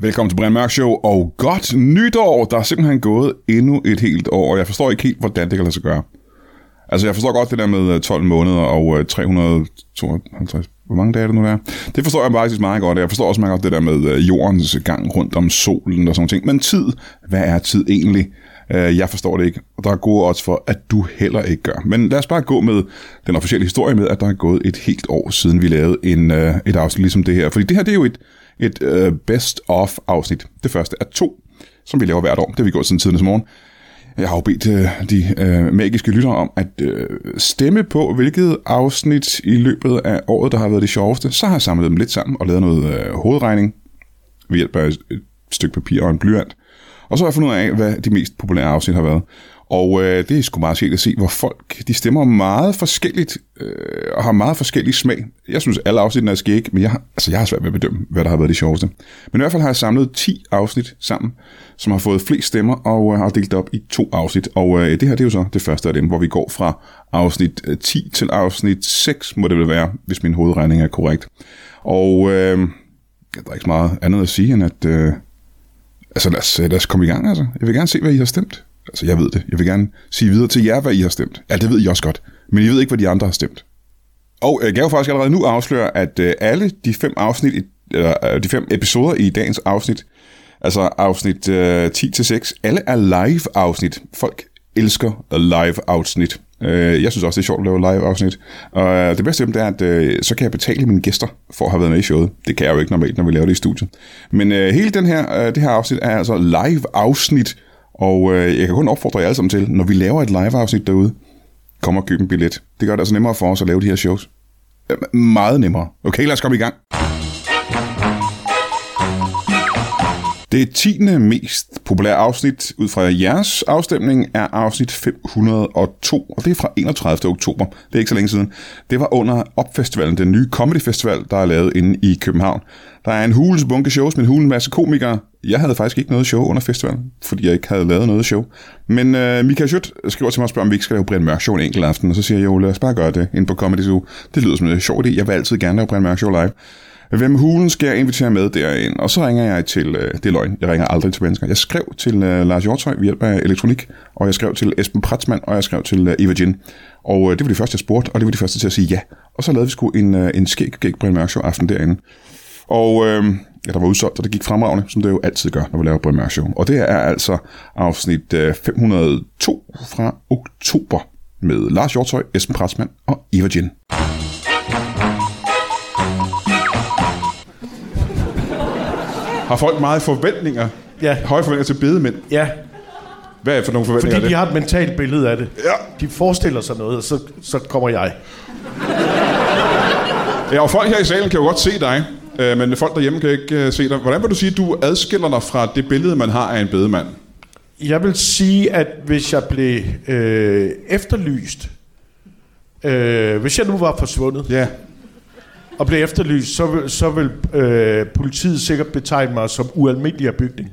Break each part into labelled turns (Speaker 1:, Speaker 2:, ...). Speaker 1: Velkommen til Brian Mørk Show, og godt nytår! Der er simpelthen gået endnu et helt år, og jeg forstår ikke helt, hvordan det kan lade sig gøre. Altså, jeg forstår godt det der med øh, 12 måneder og øh, 352... Hvor mange dage er det nu, der er? Det forstår jeg faktisk meget godt, og jeg forstår også meget godt det der med øh, jordens gang rundt om solen og sådan ting. Men tid, hvad er tid egentlig? Øh, Jeg forstår det ikke, og der er gode odds for, at du heller ikke gør. Men lad os bare gå med den officielle historie med, at der er gået et helt år siden, vi lavede en, øh, et afsnit ligesom det her. Fordi det her, det er jo et, et øh, best-of-afsnit. Det første er to, som vi laver hvert år. Det har vi gjort siden tidens morgen. Jeg har jo bedt øh, de øh, magiske lyttere om at øh, stemme på, hvilket afsnit i løbet af året, der har været det sjoveste. Så har jeg samlet dem lidt sammen og lavet noget øh, hovedregning ved hjælp af et et stykke papir og en blyant. Og så har jeg fundet ud af, hvad de mest populære afsnit har været. Og øh, det er sgu meget sjældent at se, hvor folk de stemmer meget forskelligt øh, og har meget forskellig smag. Jeg synes, alle afsnittene er skæg, men jeg, har- altså, jeg har svært ved at bedømme, hvad der har været det sjoveste. Men i hvert fald har jeg samlet 10 afsnit sammen, som har fået flest stemmer og øh, har delt det op i to afsnit. Og øh, det her det er jo så det første af dem, hvor vi går fra afsnit øh, 10 til afsnit 6, må det vel være, hvis min hovedregning er korrekt. Og øh, der er ikke så meget andet at sige, end at... Øh, Altså lad os, lad os komme i gang, altså. Jeg vil gerne se, hvad I har stemt. Altså jeg ved det. Jeg vil gerne sige videre til jer, hvad I har stemt. Ja, det ved I også godt. Men I ved ikke, hvad de andre har stemt. Og øh, jeg kan jo faktisk allerede nu afsløre, at øh, alle de fem afsnit, i- eller øh, de fem episoder i dagens afsnit, altså afsnit øh, 10-6, alle er live-afsnit. Folk elsker live-afsnit. Øh, jeg synes også, det er sjovt at lave live-afsnit. Og øh, det bedste af dem, det er, at øh, så kan jeg betale mine gæster for at have været med i showet. Det kan jeg jo ikke normalt, når vi laver det i studiet. Men øh, hele den her, øh, det her afsnit er altså live-afsnit, og øh, jeg kan kun opfordre jer alle sammen til, når vi laver et live-afsnit derude, kom og køb en billet. Det gør det altså nemmere for os at lave de her shows. Øh, Meget nemmere. Okay, lad os komme i gang. Det 10. mest populære afsnit ud fra jeres afstemning er afsnit 502, og det er fra 31. oktober. Det er ikke så længe siden. Det var under Opfestivalen, den nye Comedy Festival, der er lavet inde i København. Der er en hulens bunke shows med en hulen masse komikere. Jeg havde faktisk ikke noget show under festivalen, fordi jeg ikke havde lavet noget show. Men øh, Michael Schutt skriver til mig og spørger, om vi ikke skal lave Brian Mørk Show en enkelt aften, og så siger jeg, jo, lad os bare gøre det inde på Comedy Zoo. Det lyder som en sjov idé. Jeg vil altid gerne lave Brian Mørk Show live. Hvem hulen skal jeg invitere med derind? Og så ringer jeg til, øh, det er løgn, jeg ringer aldrig til mennesker. Jeg skrev til øh, Lars Hjortøj ved hjælp af elektronik, og jeg skrev til Esben Pratzmann, og jeg skrev til øh, Eva Jin. Og øh, det var de første, jeg spurgte, og det var de første til at sige ja. Og så lavede vi sgu en, øh, en skæg, skæg Brian Mørk Show aften derinde. Og øh, ja, der var udsolgt, og det gik fremragende, som det jo altid gør, når vi laver Brian Mørk Show. Og det er altså afsnit øh, 502 fra oktober med Lars Hjortøj, Esben Pratzmann og Eva Jin. Har folk meget forventninger?
Speaker 2: Ja.
Speaker 1: Høje forventninger til bedemænd?
Speaker 2: Ja,
Speaker 1: Hvad er for nogle forventninger
Speaker 2: fordi
Speaker 1: er
Speaker 2: de har et mentalt billede af det.
Speaker 1: Ja.
Speaker 2: De forestiller sig noget, og så, så kommer jeg.
Speaker 1: det? Ja, og folk her i salen kan jo godt se dig, øh, men folk derhjemme kan ikke øh, se dig. Hvordan vil du sige, at du adskiller dig fra det billede, man har af en bedemand?
Speaker 2: Jeg vil sige, at hvis jeg blev øh, efterlyst, øh, hvis jeg nu var forsvundet
Speaker 1: Ja.
Speaker 2: og blev efterlyst, så, vil- så vil øh, politiet sikkert betegne mig som ualmindelig af bygning.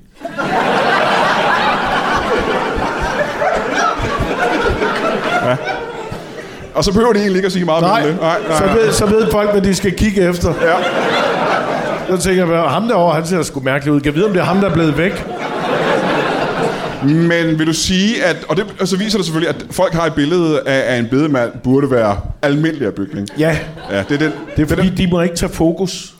Speaker 1: Og så behøver de egentlig ikke at sige meget mere
Speaker 2: Nej,
Speaker 1: om det. Nej, nej,
Speaker 2: så,
Speaker 1: nej.
Speaker 2: ved, så ved folk, hvad de skal kigge efter.
Speaker 1: Ja.
Speaker 2: Så tænker jeg, ham derovre, han ser sgu mærkelig ud. Kan jeg vide, om det er ham, der er blevet væk?
Speaker 1: Men vil du sige, at... Og, det, og så viser det selvfølgelig, at folk har et billede af, at en bedemand burde være almindelig af bygning.
Speaker 2: Ja,
Speaker 1: Ja, det er den.
Speaker 2: det er fordi, de må ikke tage fokus.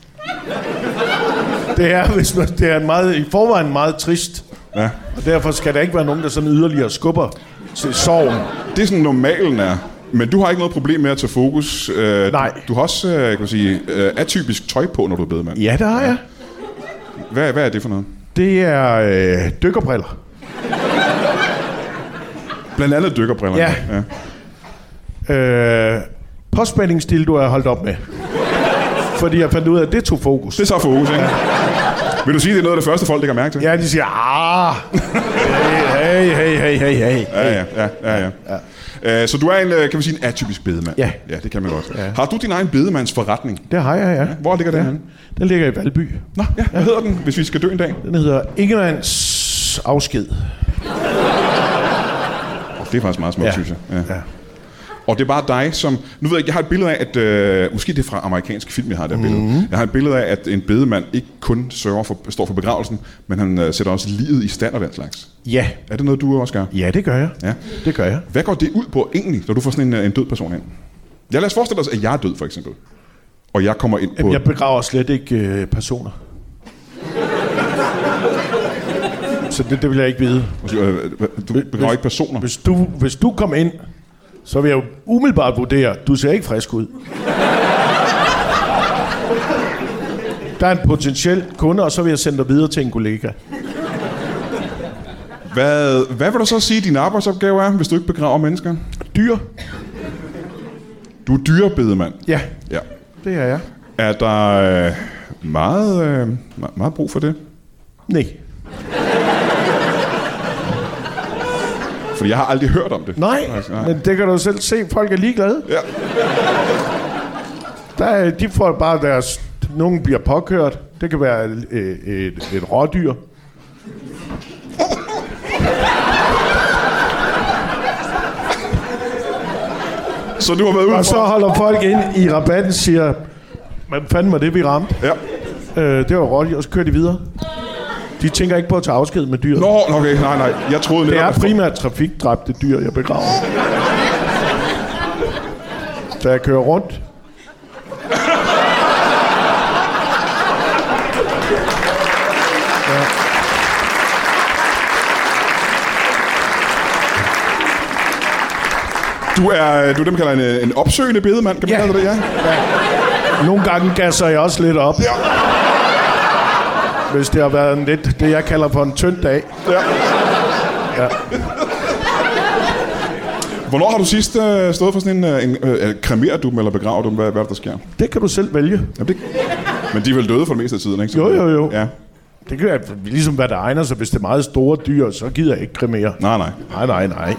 Speaker 2: Det er, hvis man, det er en meget, i forvejen meget trist
Speaker 1: Ja.
Speaker 2: Og derfor skal der ikke være nogen, der sådan yderligere skubber til sorgen.
Speaker 1: Det er sådan normalen er. Men du har ikke noget problem med at tage fokus. Øh,
Speaker 2: Nej.
Speaker 1: Du har også, øh, kan man sige, øh, atypisk tøj på, når du er bedemand.
Speaker 2: Ja, det har jeg.
Speaker 1: Hvad, hvad er det for noget?
Speaker 2: Det er øh, dykkerbriller.
Speaker 1: Blandt andet dykkerbriller.
Speaker 2: Ja.
Speaker 1: ja.
Speaker 2: Øh, påspændingsdil, du har holdt op med. Fordi jeg fandt ud af, at det tog fokus.
Speaker 1: Det er så fokus, ikke? Vil du sige, det er noget af det første, folk lægger mærke til?
Speaker 2: Ja, de siger, ah, hey, hey, hey, hey, hey.
Speaker 1: Ja, ja, ja. ja, ja. ja. Øh, Så du er en, øh, kan man sige, en atypisk bedemand.
Speaker 2: Ja.
Speaker 1: Ja, det kan man godt. Ja. Har du din egen bedemandsforretning?
Speaker 2: Det har jeg, ja.
Speaker 1: Hvor ligger den henne?
Speaker 2: Den ligger i Valby.
Speaker 1: Nå, ja, hvad hedder den, hvis vi skal dø en dag?
Speaker 2: Den hedder Ingemands afsked.
Speaker 1: Det er faktisk meget smukt,
Speaker 2: Ja.
Speaker 1: synes jeg. Ja.
Speaker 2: Ja.
Speaker 1: Og det er bare dig, som... Nu ved jeg, ikke, jeg har et billede af, at... Øh, måske det er fra amerikanske film, jeg har det her billede.
Speaker 2: Mhm.
Speaker 1: Jeg har et billede af, at en bedemand ikke kun sørger for, står for begravelsen, men han øh, sætter også livet i stand og den slags.
Speaker 2: Ja.
Speaker 1: Er det noget, du også gør?
Speaker 2: Ja, det gør jeg.
Speaker 1: Ja.
Speaker 2: Det gør jeg.
Speaker 1: Hvad går det ud på egentlig, når du får sådan en, øh, en død person ind? Ja, lad os forestille os, at jeg er død, for eksempel. Og jeg kommer ind på...
Speaker 2: Jamen, jeg begraver slet ikke øh, personer. Så det, det vil jeg ikke vide.
Speaker 1: Måske, øh, øh, Du begraver ikke personer.
Speaker 2: Hvis du, hvis du kom ind, så vil jeg jo umiddelbart vurdere, du ser ikke frisk ud. Der er en potentiel kunde, og så vil jeg sende dig videre til en kollega.
Speaker 1: Hvad, hvad vil du så sige, din arbejdsopgave er, hvis du ikke begraver mennesker?
Speaker 2: Dyr?
Speaker 1: Du er dyrebedemand.
Speaker 2: Ja,
Speaker 1: Ja.
Speaker 2: det er jeg.
Speaker 1: Er der øh, meget, øh, me- meget brug for det?
Speaker 2: Nej.
Speaker 1: Fordi jeg har aldrig hørt om det.
Speaker 2: Nej,
Speaker 1: Altså,
Speaker 2: men det kan du selv se, folk er ligeglade.
Speaker 1: Ja.
Speaker 2: Der, er- de får bare deres... Nogen bliver påkørt. Det kan være øh, et, et rådyr.
Speaker 1: Så du har været ude
Speaker 2: Og så
Speaker 1: for...
Speaker 2: holder folk ind i rabatten og siger, hvad fanden var det, vi ramte?
Speaker 1: Ja.
Speaker 2: Øh, det var rådyr, og så kører de videre. De tænker ikke på at tage afsked med dyret.
Speaker 1: Nå, okay, nej, nej. Jeg troede
Speaker 2: Det
Speaker 1: netop,
Speaker 2: er
Speaker 1: at-
Speaker 2: primært trafikdræbte dyr, jeg begraver. Så jeg kører rundt.
Speaker 1: Du er, du er dem, kalder en, øh, en opsøgende bedemand, kan man
Speaker 2: Ja.
Speaker 1: kalde det, ja?
Speaker 2: Nogle gange gasser jeg også lidt op. Hvis det har været en lidt, det jeg kalder for en tynd dag.
Speaker 1: ja. Hvornår har du sidst øh, stået for sådan en... Øh, en øh, øh, kremerer du dem, eller begraver du dem? Hvad, hvad er det, der sker?
Speaker 2: Det kan du selv vælge.
Speaker 1: Jamen, det... Men de er vel døde for det meste af tiden, ikke? Så-
Speaker 2: Jo, jo, jo.
Speaker 1: Ja.
Speaker 2: Det kan være ligesom, hvad der egner sig. Hvis det er meget store dyr, så gider jeg ikke kremere.
Speaker 1: Nej, nej.
Speaker 2: Nej, nej, nej.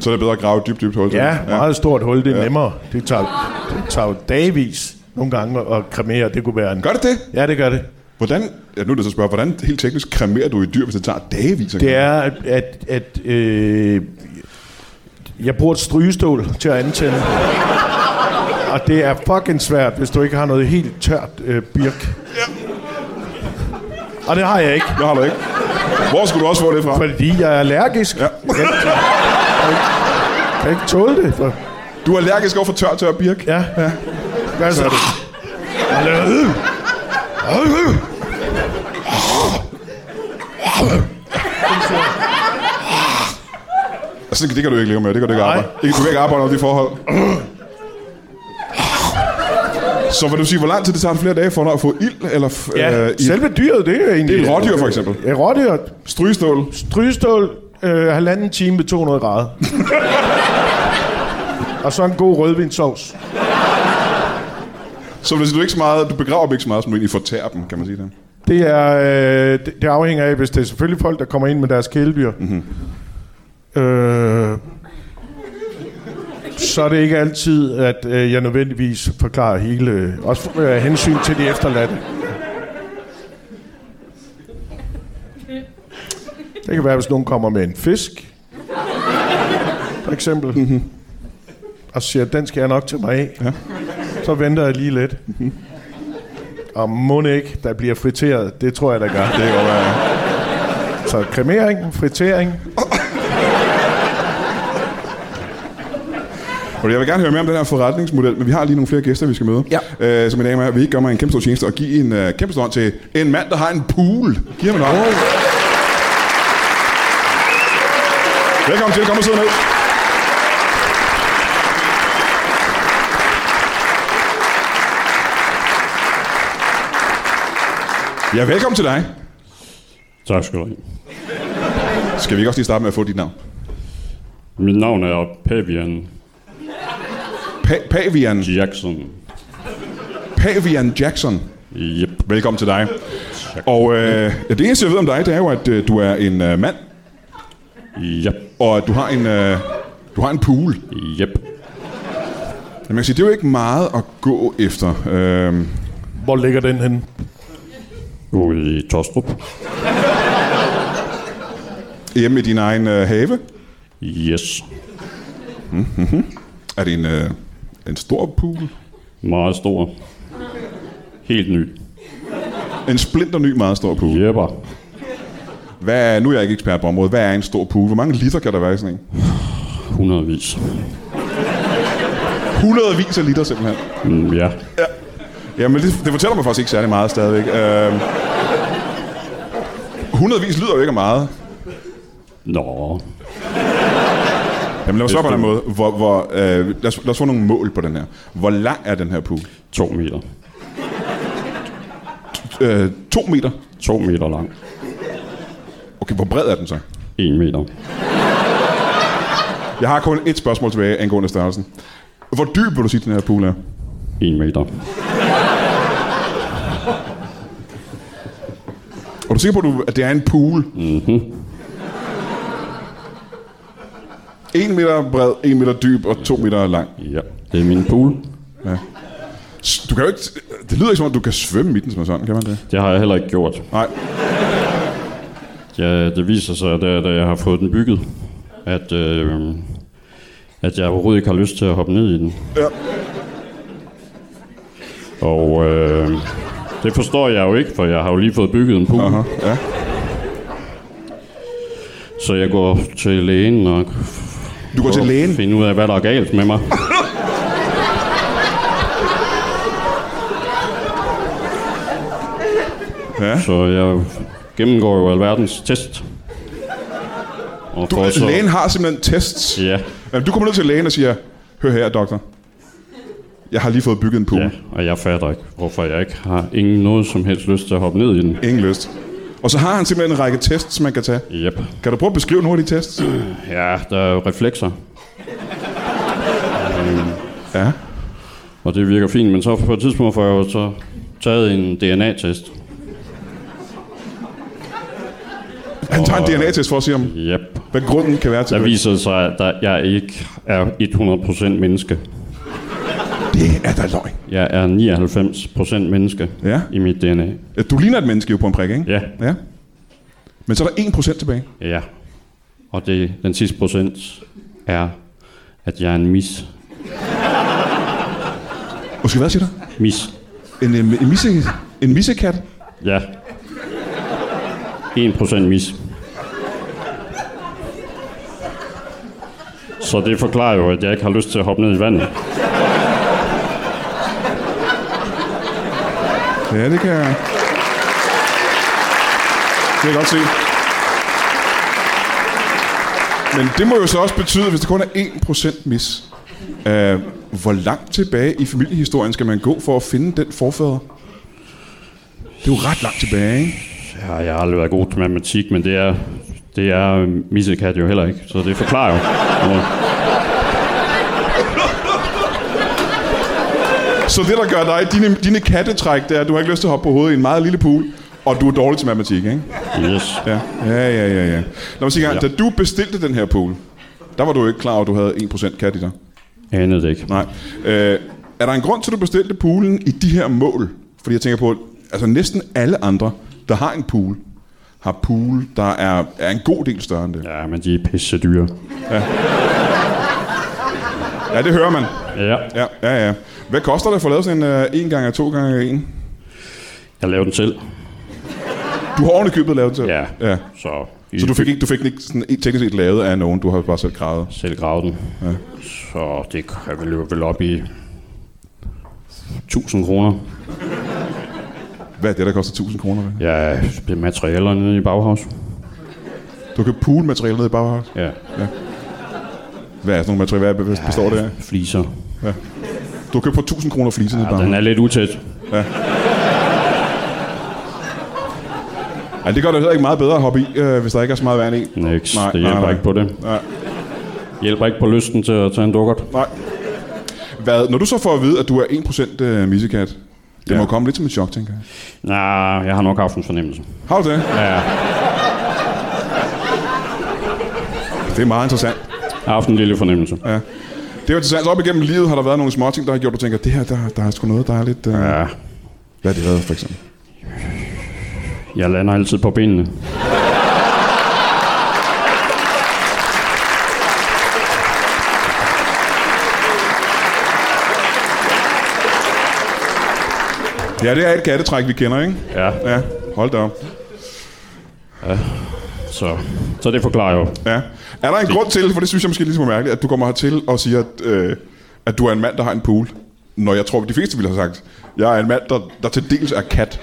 Speaker 1: Så er det bedre at grave et dybt, dybt hul. til
Speaker 2: Ja,
Speaker 1: dem.
Speaker 2: meget stort hul, det er nemmere. Det tager, det tager jo dagvis nogle gange at kremere. Det kunne være en...
Speaker 1: Gør det det?
Speaker 2: Ja, det gør det.
Speaker 1: Hvordan, ja, nu er det så at spørge, hvordan helt teknisk kremerer du et dyr, hvis det tager dagevis? at
Speaker 2: Det
Speaker 1: kremere?
Speaker 2: er, at, at, at øh, jeg bruger et strygestål til at antænde. Og det er fucking svært, hvis du ikke har noget helt tørt øh, birk. Og det har jeg ikke,
Speaker 1: Det har du ikke. Hvor skulle du også få det fra?
Speaker 2: fordi jeg er allergisk.
Speaker 1: Ja.
Speaker 2: Jeg kan ikke- jeg kan ikke tåle det. For,
Speaker 1: Du er allergisk over for tør, tør birk.
Speaker 2: ja. ja. Hvad så? Og det- øh.
Speaker 1: Altså, det kan du ikke leve med. Det kan du ikke
Speaker 2: Nej.
Speaker 1: arbejde. Ikke- Du kan ikke arbejde under de forhold. Så vil du sige, hvor lang tid det tager flere dage for dig at få ild? Eller f-
Speaker 2: Ja,
Speaker 1: øh, ild?
Speaker 2: selve dyret, det er egentlig...
Speaker 1: Det er et rådyr, for eksempel.
Speaker 2: Ja, rådyr.
Speaker 1: Strygestål.
Speaker 2: Strygestål, øh, halvanden time ved 200 grader. og så en god rødvinsovs.
Speaker 1: Så vil det sige, du, ikke så meget, du begraver dem ikke så meget, som du egentlig fortærer dem, kan man sige det.
Speaker 2: Det, er, øh, det, det afhænger af, hvis det er selvfølgelig folk, der kommer ind med deres kæledyr. Mm-hmm. Øh, så er det ikke altid, at øh, jeg nødvendigvis forklarer hele... Øh, også øh, hensyn til de efterladte. Det kan være, hvis nogen kommer med en fisk, for eksempel, mm-hmm. og siger, den skal jeg nok til mig af.
Speaker 1: Ja.
Speaker 2: Så venter jeg lige lidt. Og må ikke, der bliver friteret. Det tror jeg, der gør.
Speaker 1: Det kan godt være...
Speaker 2: Så kremering, fritering.
Speaker 1: Og jeg vil gerne høre mere om den her forretningsmodel, men vi har lige nogle flere gæster, vi skal møde.
Speaker 3: Ja.
Speaker 1: Øh, som i dag med, vi ikke gør mig en kæmpe stor tjeneste og give en øh, kæmpe stor hånd til en mand, der har en pool. Giv ham en hånd. Velkommen til. Kom og sidde ned. Ja, velkommen til dig.
Speaker 4: Tak skal du have.
Speaker 1: Skal vi ikke også lige starte med at få dit navn?
Speaker 4: Mit navn er Pavian
Speaker 1: Pa- Pavian.
Speaker 4: Jackson.
Speaker 1: Pavian Jackson.
Speaker 4: Yep.
Speaker 1: Velkommen til dig. Og øh, ja, det eneste, jeg ved om dig, det er jo, at øh, du er en øh, mand,
Speaker 4: Yep.
Speaker 1: og at du har en, øh, du har en pool. Jamen,
Speaker 4: Yep.
Speaker 1: man kan sige, det er jo ikke meget at gå efter. Øh,
Speaker 2: Hvor ligger den henne?
Speaker 4: Ude i Tostrup.
Speaker 1: hjemme i din egen øh, have.
Speaker 4: Yes.
Speaker 1: Er det en, øh, en stor pool?
Speaker 4: Meget stor. Helt ny.
Speaker 1: En splinter ny, meget stor pool.
Speaker 4: Jepper.
Speaker 1: Hvad er, nu er jeg ikke ekspert på området. Hvad er en stor pool? Hvor mange liter kan der være i sådan en?
Speaker 4: Hundredvis.
Speaker 1: Hundredvis af liter simpelthen.
Speaker 4: Mm, ja.
Speaker 1: Jamen, det, det fortæller mig faktisk ikke særlig meget stadigvæk. Øh, hundredvis lyder jo ikke af meget.
Speaker 4: Nå.
Speaker 1: Jamen, lad os svare på den her måde. Hvor, hvor, øh, lad, os, lad os få nogle mål på den her. Hvor lang er den her pool?
Speaker 4: To meter.
Speaker 1: Øh, to meter.
Speaker 4: To meter lang.
Speaker 1: Okay, hvor bred er den så?
Speaker 4: En meter.
Speaker 1: Jeg har kun et spørgsmål tilbage angående størrelsen. Hvor dyb vil du sige, den her pool er?
Speaker 4: En meter.
Speaker 1: Er du sikker på, at du- at det er en pool?
Speaker 4: Mm-hmm.
Speaker 1: 1 meter bred, 1 meter dyb og 2 meter lang.
Speaker 4: Ja. Det er min pool.
Speaker 1: S- Du kan jo ikke... Det lyder ikke som om, du kan svømme i den som er sådan, kan man det?
Speaker 4: Det har jeg heller ikke gjort.
Speaker 1: Nej.
Speaker 4: Ja, det viser sig, da, da jeg har fået den bygget, at, øh, at jeg overhovedet ikke har lyst til at hoppe ned i den.
Speaker 1: Ja.
Speaker 4: Og øh, det forstår jeg jo ikke, for jeg har jo lige fået bygget en pool.
Speaker 1: Aha, ja.
Speaker 4: Så jeg går til lægen og
Speaker 1: Du går til lægen.
Speaker 4: finde ud af, hvad der er galt med mig.
Speaker 1: Ja.
Speaker 4: Så jeg gennemgår jo alverdens test. Og
Speaker 1: Du, lægen har simpelthen tests.
Speaker 4: Ja,
Speaker 1: Jamen, du kommer ned til lægen og siger, hør her, doktor. Jeg har lige fået bygget en pool.
Speaker 4: ja, og jeg fatter ikke, hvorfor jeg ikke har ingen noget som helst lyst til at hoppe ned i den.
Speaker 1: Ingen lyst. Og så har han simpelthen en række tests, man kan tage.
Speaker 4: Yep.
Speaker 1: Kan du prøve at beskrive nogle af de tests?
Speaker 4: Ja, der er jo reflekser,
Speaker 1: Ja.
Speaker 4: og det virker fint, men så på et tidspunkt får jeg jo så taget en DNA-test.
Speaker 1: Han tager en DNA-test for at se, om,
Speaker 4: Yep.
Speaker 1: hvad grunden kan være til
Speaker 4: Der
Speaker 1: det.
Speaker 4: viser det sig, at der, jeg ikke er 100% menneske.
Speaker 1: Det er da løgn.
Speaker 4: Jeg er 99% menneske
Speaker 1: Ja.
Speaker 4: i mit DNA.
Speaker 1: Ja, Du ligner et menneske jo på en prik, ikke?
Speaker 4: Ja,
Speaker 1: Ja. Men så er der 1% tilbage.
Speaker 4: ja. Og det, den sidste procent er, at jeg er en mis.
Speaker 1: Måske hvad siger du?
Speaker 4: Mis.
Speaker 1: En, en, en, misse, en missekat?
Speaker 4: Ja. 1% mis. Så det forklarer jo, at jeg ikke har lyst til at hoppe ned i vandet.
Speaker 1: Ja, det kan jeg. Det kan jeg godt se. Men det må jo så også betyde, hvis det kun er 1% mis, øh, hvor langt tilbage i familiehistorien skal man gå for at finde den forfader? Det er jo ret langt tilbage, ikke?
Speaker 4: Ja, jeg har aldrig været god til matematik, men det er, det er missekat jo heller ikke, så det forklarer jo. noget.
Speaker 1: Så det, der gør dig, dine, dine kattetræk, det er, at du har ikke lyst til at hoppe på hovedet i en meget lille pool, og du er dårlig til matematik, ikke?
Speaker 4: Yes.
Speaker 1: Ja, ja, ja, ja. ja. Lad mig sige en gang,
Speaker 4: Ja.
Speaker 1: da du bestilte den her pool, der var du jo ikke klar over, at du havde 1% kat i dig.
Speaker 4: Anede det ikke.
Speaker 1: Nej. Øh, er der en grund til, at du bestilte poolen i de her mål? Fordi jeg tænker på, at altså næsten alle andre, der har en pool, har pool, der er, er en god del større end det.
Speaker 4: Ja, men de er pisse dyre.
Speaker 1: Ja, det hører man.
Speaker 4: Ja.
Speaker 1: Ja, ja, ja. Hvad koster det at få lavet sådan en øh, en gange to gange en?
Speaker 4: Jeg lavede den selv.
Speaker 1: Du har ordentligt købet lavet til.
Speaker 4: Ja.
Speaker 1: ja.
Speaker 4: Så,
Speaker 1: Så du fik ikke, du fik den ikke sådan en teknisk set lavet af nogen, du har bare selv gravet?
Speaker 4: selv gravet den. Ja. Så det kan vel jo vel op i 1000 kroner.
Speaker 1: Hvad er det, der koster 1000 kroner? hvad?
Speaker 4: Ja, det er materialer nede i Bauhaus.
Speaker 1: Du kan pool materiale ned i Bauhaus.
Speaker 4: Ja.
Speaker 1: Hvad er sådan nogle materialer? Hvad hvad består det af?
Speaker 4: Fliser.
Speaker 1: Du har købt for 1000 kroner fliser ned i
Speaker 4: Ja, den
Speaker 1: Bauhaus.
Speaker 4: er lidt utæt.
Speaker 1: Ja, det gør det jo heller ikke meget bedre at hoppe i, øh, hvis der ikke er så meget vand i.
Speaker 4: Nix.
Speaker 1: Nej,
Speaker 4: Nej, det
Speaker 1: nej,
Speaker 4: hjælper
Speaker 1: nej.
Speaker 4: ikke på det.
Speaker 1: Nej.
Speaker 4: Hjælper ikke på lysten til at tage en dukkert.
Speaker 1: Nej. Hvad, når du så får at vide, at du er 1% øh, missekat, det ja.
Speaker 4: Ja.
Speaker 1: må komme lidt som et chok, tænker jeg.
Speaker 4: Nej, jeg har nok haft en fornemmelse.
Speaker 1: Har du det?
Speaker 4: Ja.
Speaker 1: Det er meget interessant.
Speaker 4: Jeg har haft en lille fornemmelse.
Speaker 1: Ja. Det er jo interessant. Så op igennem livet har der været nogle småting, der har gjort, at du tænker, det her, der, der er sgu noget dejligt. Øh.
Speaker 4: Ja.
Speaker 1: Hvad har det været, for eksempel?
Speaker 4: Jeg lander altid på benene.
Speaker 1: Ja, det er et kattetræk, vi kender, ikke?
Speaker 4: Ja,
Speaker 1: Ja, hold da op.
Speaker 4: så, så det forklarer jo.
Speaker 1: Ja. Er der en grund til, for det synes jeg måske ligesom er mærkeligt, at du kommer hertil og siger, at, øh, at du er en mand, der har en pool? Når jeg tror, at de fleste ville have sagt, jeg er en mand, der, der til dels er kat.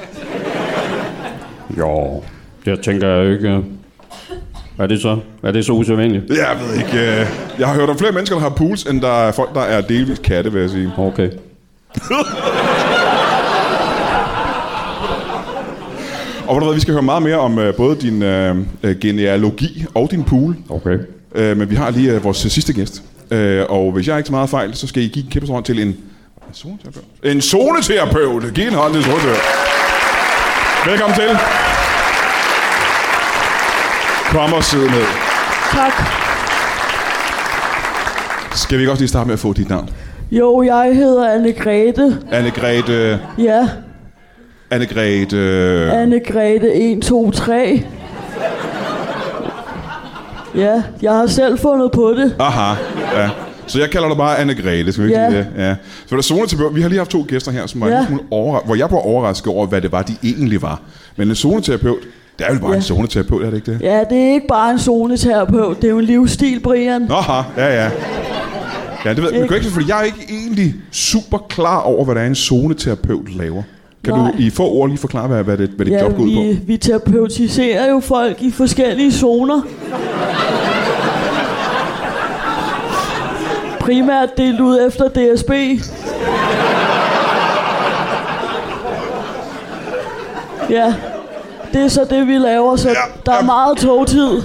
Speaker 4: Jo, det tænker jeg jo ikke. øh. Er det så? Er det så usædvanligt?
Speaker 1: Jeg ved ikke. Øh, jeg har hørt om flere mennesker, der har pools, end der er folk, der er delvis katte, vil jeg sige.
Speaker 4: Okay.
Speaker 1: Og ved du hvad, vi skal høre meget mere om øh, både din øh, øh, genealogi og din pool.
Speaker 4: Okay.
Speaker 1: Øh, men vi har lige øh, vores øh, sidste gæst. Øh, og hvis jeg ikke tager meget fejl, så skal I give en kæmpe stor hånd til en... En zoneterapeut? En zoneterapeut! Giv en hånd til en zoneterapeut. Velkommen til. Kom og sidde ned.
Speaker 3: Tak.
Speaker 1: Skal vi ikke også lige starte med at få dit navn?
Speaker 3: Jo, jeg hedder Anne-Grethe.
Speaker 1: Anne-Grethe...
Speaker 3: Ja,
Speaker 1: Anne-Grethe...
Speaker 3: Anne-Grethe 1, 2, 3. Ja, jeg har selv fundet på det.
Speaker 1: Aha, ja. Så jeg kalder dig bare Anne-Grethe, skal vi ikke
Speaker 3: Ja.
Speaker 1: sige det? Ja. Så var der zoneterapeut. Vi har lige haft to gæster her, som var ja.
Speaker 3: Ja.
Speaker 1: en lille smule overrasket, hvor jeg var overrasket over, hvad det var, de egentlig var. Men en zoneterapeut, det er jo bare ja. en zoneterapeut, er det ikke det?
Speaker 3: Ja, det er ikke bare en zoneterapeut, det er jo en livsstil, Brian.
Speaker 1: Aha, ja, ja. Ja, det ved jeg. Men kan ikke, fordi jeg er ikke egentlig super klar over, hvad der er en zoneterapeut laver. Kan Nej.
Speaker 3: Nej.
Speaker 1: du i få ord lige forklare, hvad, hvad det, hvad det ja,
Speaker 3: Ja,
Speaker 1: job går ud
Speaker 3: vi,
Speaker 1: på?
Speaker 3: vi terapeutiserer jo folk i forskellige zoner. Primært delt ud efter DSB. Ja, det er så det, vi laver, så
Speaker 1: Ja,
Speaker 3: der er
Speaker 1: ja.
Speaker 3: meget togtid.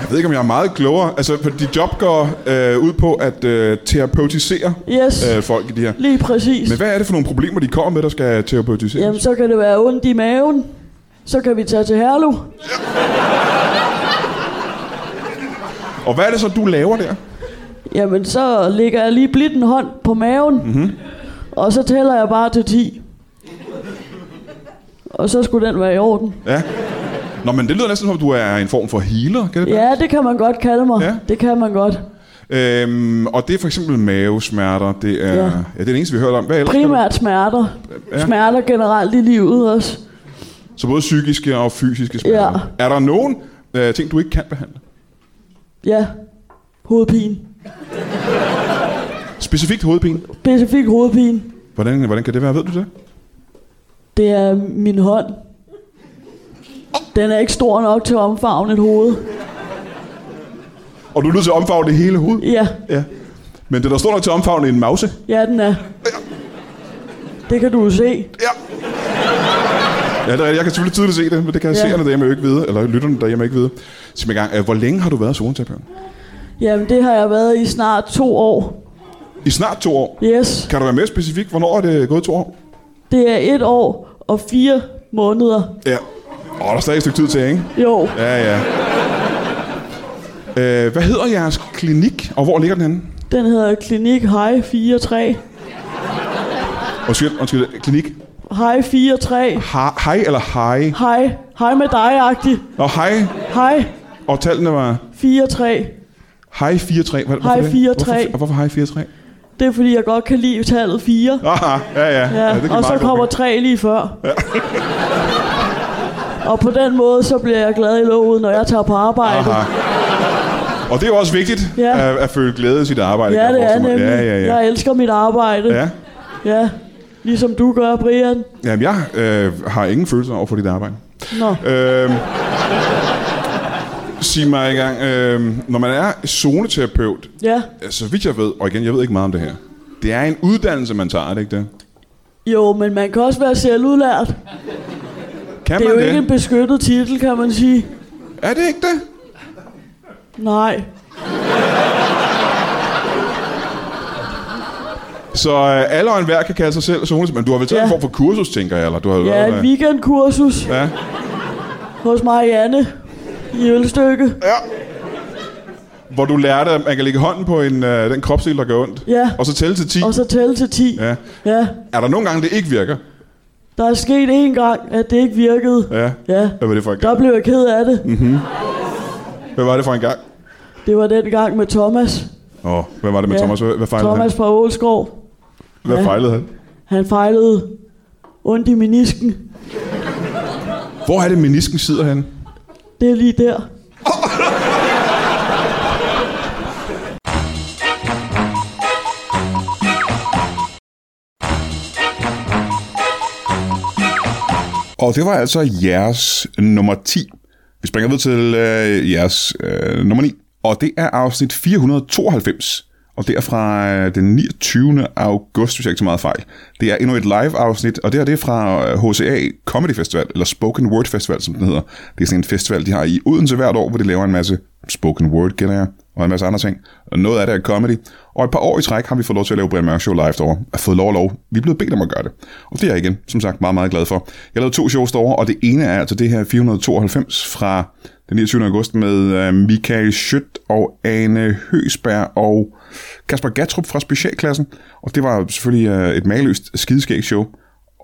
Speaker 1: Jeg ved ikke, om jeg er meget klogere. Altså, for dit job går øh, ud på at øh, terapeutisere
Speaker 3: Yes,
Speaker 1: øh, folk i det her.
Speaker 3: lige præcis.
Speaker 1: Men hvad er det for nogle problemer, de kommer med, der skal terapeutiseres?
Speaker 3: Jamen, så kan det være ondt i maven. Så kan vi tage til Herlev.
Speaker 1: Og hvad er det så, du laver der?
Speaker 3: Jamen, så lægger jeg lige blidt en hånd på maven,
Speaker 1: Mhm.
Speaker 3: mm-hmm. og så tæller jeg bare til 10. Og så skulle den være i orden.
Speaker 1: Ja. Nå, men det lyder næsten som, du er en form for healer, kan det være?
Speaker 3: Ja, det kan man godt kalde mig.
Speaker 1: Ja.
Speaker 3: Det kan man godt.
Speaker 1: Øhm, og det er for eksempel mavesmerter. Det er, ja.
Speaker 3: Ja.
Speaker 1: ja det er det eneste, vi har hørt om. Hvad ellers?
Speaker 3: Primært smerter.
Speaker 1: Ja.
Speaker 3: Smerter generelt i livet også.
Speaker 1: Så både psykiske og fysiske smerter. Ja. Er der nogen øh, ting, du ikke kan behandle?
Speaker 3: Ja, hovedpine.
Speaker 1: Specifikt hovedpine.
Speaker 3: Specifik hovedpine.
Speaker 1: Hvordan, hvordan kan det være? Ved du det?
Speaker 3: Det er min hånd. Den er ikke stor nok til at omfavne et hoved.
Speaker 1: Og du er nødt til at omfavne det hele hoved.
Speaker 3: Ja,
Speaker 1: Ja. Men det er der står nok til at omfavne en mause.
Speaker 3: ja den er. Det kan du jo se.
Speaker 1: Ja. Ja, det er, rigtigt. jeg kan selvfølgelig tydeligt se det, men det kan
Speaker 3: Ja.
Speaker 1: ja. seerne derhjemme jo ikke vide, eller lytterne derhjemme ikke vide. Sig mig gang, øh, hvor længe har du været zoneterapeut?
Speaker 3: Jamen, det har jeg været i snart to år.
Speaker 1: I snart to år.
Speaker 3: Yes.
Speaker 1: Kan du være mere specifik? Hvornår er det gået to år?
Speaker 3: Det er et år og fire måneder.
Speaker 1: Ja. Åh, der er stadig et stykke tid til, ikke?
Speaker 3: Jo,
Speaker 1: Ja, ja. Øh, hvad hedder jeres klinik, og hvor ligger den henne?
Speaker 3: den hedder Klinik Hej 43.
Speaker 1: Undskyld, undskyld. Klinik.
Speaker 3: Hej 43.
Speaker 1: Ha- hej eller hej?
Speaker 3: Hej. Hej med dig-agtig.
Speaker 1: Nå, hej.
Speaker 3: Hej
Speaker 1: Og tallene var
Speaker 3: 43.
Speaker 1: hej 4-3. Hvad, hvorfor
Speaker 3: Hej,
Speaker 1: det?
Speaker 3: 4-3.
Speaker 1: Hvorfor, og hvorfor hej 4-3?
Speaker 3: Det er fordi, jeg godt kan lide tallet 4.
Speaker 1: Aha, ja, ja.
Speaker 3: Ja,
Speaker 1: det kan
Speaker 3: og så
Speaker 1: meget
Speaker 3: kommer
Speaker 1: godt
Speaker 3: 3 lige før. Og på den måde, så bliver jeg glad i låget, når jeg tager på
Speaker 1: være.
Speaker 3: arbejde.
Speaker 1: Aha. Ah. Og det er jo også vigtigt
Speaker 3: Ja.
Speaker 1: at, at føle glæde i sit arbejde.
Speaker 3: Ja,
Speaker 1: kan jeg
Speaker 3: det er
Speaker 1: forestille mig.
Speaker 3: nemlig.
Speaker 1: Ja, ja, ja.
Speaker 3: Jeg elsker mit arbejde.
Speaker 1: ja.
Speaker 3: ja. Ligesom du gør, Brian.
Speaker 1: Jamen, jeg øh, har ingen følelser over for dit arbejde.
Speaker 3: Nå.
Speaker 1: Øhm, sig mig engang, øhm, når man er zoneterapeut,
Speaker 3: Ja.
Speaker 1: så vidt jeg ved, og igen, jeg ved ikke meget om det her, det er en uddannelse, man tager, er det ikke det?
Speaker 3: Jo, men man kan også være selvudlært.
Speaker 1: Kan
Speaker 3: Det er
Speaker 1: man
Speaker 3: jo
Speaker 1: det?
Speaker 3: ikke en beskyttet titel, kan man sige.
Speaker 1: Er det ikke det?
Speaker 3: Nej.
Speaker 1: Så øh, alle og enhver kan kalde sig selv zoneterapeut, men du har vel taget
Speaker 3: Ja.
Speaker 1: en form for kursus, tænker jeg, eller du har jo
Speaker 3: Ja,
Speaker 1: lavet,
Speaker 3: et
Speaker 1: øh,
Speaker 3: weekendkursus
Speaker 1: Ja,
Speaker 3: hos Marianne i Ølstykke.
Speaker 1: hvor du lærte, at man kan lægge hånden på en, øh, den kropsdel, der gør ondt,
Speaker 3: Ja.
Speaker 1: og så tælle til 10.
Speaker 3: Og så tælle til 10.
Speaker 1: Ja.
Speaker 3: ja.
Speaker 1: Er der nogle gange, det ikke virker?
Speaker 3: Der er sket én gang, at det ikke virkede.
Speaker 1: Ja.
Speaker 3: Ja.
Speaker 1: Hvad var det for en
Speaker 3: Der
Speaker 1: gang? Mhm.
Speaker 3: blev jeg ked af det.
Speaker 1: Hvad var det for en gang?
Speaker 3: Det var den gang med Thomas.
Speaker 1: Åh, hvad var det med
Speaker 3: Ja.
Speaker 1: Thomas? Hvad, hvad fejlede
Speaker 3: Thomas fra Ålskov.
Speaker 1: han? Hvad fejlede han?
Speaker 3: Han fejlede ondt i menisken.
Speaker 1: Hvor er det, menisken sidder han?
Speaker 3: Det er lige der.
Speaker 1: Og det var altså jeres nummer 10. Vi springer videre til øh, jeres øh, nummer 9. Og det er afsnit 492. Og det er fra øh, den 29. august, hvis jeg ikke så meget fejl. Det er endnu et live-afsnit, og det her det er fra øh, HCA Comedy Festival, eller Spoken Word Festival, som den hedder. Det er sådan en festival, de har i Odense hvert år, hvor de laver en masse spoken word, gætter jeg, og en masse andre ting. Og noget af det er comedy. Og et par år i træk har vi fået lov til at lave Brian Mørk Show live derovre. Jeg har fået lov og lov. Vi er blevet bedt om at gøre det. Og det er jeg igen, som sagt, meget, meget glad for. Jeg lavede to shows derovre, og det ene er altså det her 492 fra den 29. august med øh, Michael Schødt og Ane Høsberg og Kasper Gatrup fra specialklassen. Og det var selvfølgelig øh, et mageløst skideskægt show.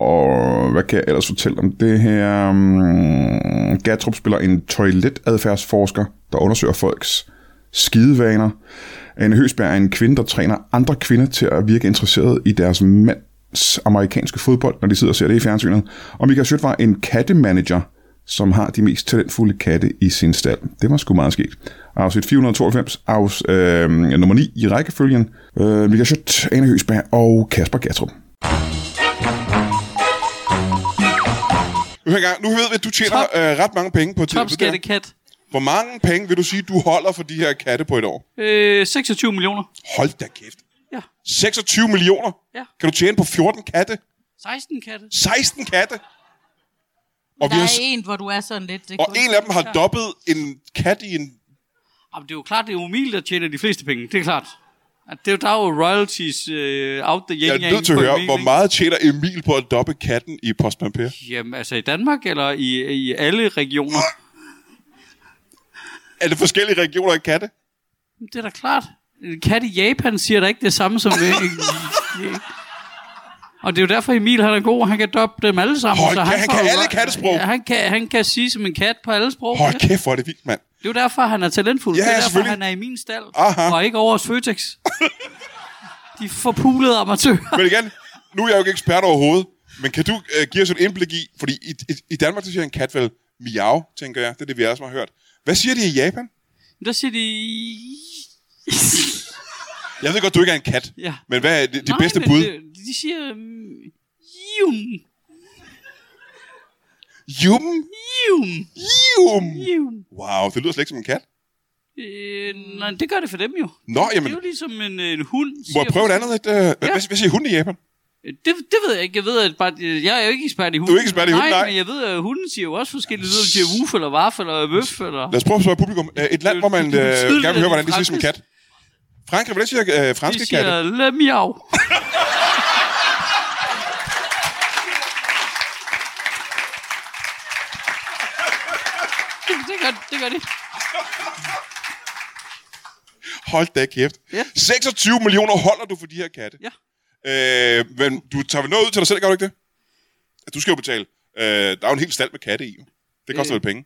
Speaker 1: Og hvad kan jeg ellers fortælle om det her? Mm, Gatrup spiller en toiletadfærdsforsker, der undersøger folks skidevaner. Anne Høsberg er en kvinde, der træner andre kvinder til at virke interesseret i deres mands amerikanske fodbold, når de sidder og ser det i fjernsynet. Og Michael Schødt var en kattemanager, som har de mest talentfulde katte i sin stald. Det var sgu meget sket. Afsnit 492, afs, øh, nummer 9 i rækkefølgen. Øh, Michael Schødt, Anne Høsberg og Kasper Gatrup. Hør engang, nu ved vi, at du tjener
Speaker 5: Top.
Speaker 1: øh, ret mange penge på det.
Speaker 5: Top
Speaker 1: det der.
Speaker 5: skattekat.
Speaker 1: Hvor mange penge vil du sige, du holder for de her katte på et år?
Speaker 5: Øh, 26 millioner.
Speaker 1: Hold da kæft.
Speaker 5: Ja.
Speaker 1: 26 millioner?
Speaker 5: Ja.
Speaker 1: Kan du tjene på 14 katte?
Speaker 5: 16 katte.
Speaker 1: 16 katte? Og, vi
Speaker 6: Der
Speaker 1: har,
Speaker 6: er en, hvor du er sådan lidt... Det
Speaker 1: og
Speaker 6: kunne-
Speaker 1: en af dem har
Speaker 5: Ja.
Speaker 1: dobbet en kat i en...
Speaker 5: Jamen, det er jo klart, det er umuligt at tjene de fleste penge. Det er klart. At det, er jo- der er jo royalties øh, out the
Speaker 1: Jeg
Speaker 5: yin
Speaker 1: er nødt til at høre, hvor meget tjener Emil på at dobbe katten i Postman Per?
Speaker 5: Jamen, altså i Danmark eller i, i alle regioner?
Speaker 1: Er det forskellige regioner af katte?
Speaker 5: Det er da klart. En kat i Japan siger da ikke det samme som... øh, øh, Og det er jo derfor, Emil han er god, han kan doppe dem alle sammen.
Speaker 1: Hold kæft, han
Speaker 5: får
Speaker 1: kan
Speaker 5: jo-
Speaker 1: alle kattesprog.
Speaker 5: Ja, han, kan, han kan sige som en kat på alle sprog.
Speaker 1: Hold kæft, hvor er det vildt, mand.
Speaker 5: Det er jo derfor, han er talentfuld.
Speaker 1: Ja,
Speaker 5: det er derfor,
Speaker 1: selvfølgelig.
Speaker 5: han er i min stald.
Speaker 1: Aha.
Speaker 5: Og ikke over hos Føtex. De forpulede amatører.
Speaker 1: Men igen, nu er jeg jo ikke ekspert overhovedet, men kan du øh, give os et indblik i... Fordi i, i, i Danmark, der siger en kat vel miau, tænker jeg. Det er det, vi alle sammen har hørt. Hvad siger de i Japan?
Speaker 5: Der siger de...
Speaker 1: Jeg ved godt, du ikke er en kat.
Speaker 5: Ja.
Speaker 1: Men hvad er de, de
Speaker 5: Nej,
Speaker 1: bedste
Speaker 5: men
Speaker 1: bud?
Speaker 5: det- De siger... mm, Jum,
Speaker 1: Jum,
Speaker 5: jum,
Speaker 1: jum.
Speaker 5: jum.
Speaker 1: Wow, det lyder slet ikke som en kat.
Speaker 5: Øh, nej, det gør det for dem jo.
Speaker 1: Nå, jamen,
Speaker 5: Det er jo ligesom en, en hund.
Speaker 1: må jeg
Speaker 5: siger-
Speaker 1: prøve et andet? Et, øh, ja. hvad, hvad siger hunden i Japan?
Speaker 5: Det, det ved jeg ikke. Jeg ved, at bare, jeg er jo ikke ekspert i hunden.
Speaker 1: Du er ikke ekspert i hunde, nej.
Speaker 5: nej. men jeg ved, at hunden siger jo også forskellige lyder. De siger woof, eller varf, eller bøf, eller...
Speaker 1: Lad os prøve at spørge publikum. Øh, Et land, hvor man
Speaker 5: Det er
Speaker 1: øh,
Speaker 5: tydeligt,
Speaker 1: gerne vil høre,
Speaker 5: at
Speaker 1: hvordan
Speaker 5: det
Speaker 1: det siger
Speaker 5: er
Speaker 1: som en kat. Frankrig, hvordan siger øh, franske
Speaker 5: De
Speaker 1: katte?
Speaker 5: siger, lad miau. det, det, gør, det gør de.
Speaker 1: Hold da kæft.
Speaker 5: Ja.
Speaker 1: 26 millioner holder du for de her katte.
Speaker 5: Ja.
Speaker 1: Øh, men du tager vel noget ud til dig selv, gør du ikke det? Du skal jo betale. Øh, der er jo en hel stald med katte i. jo. Det koster
Speaker 5: Øh.
Speaker 1: vel penge.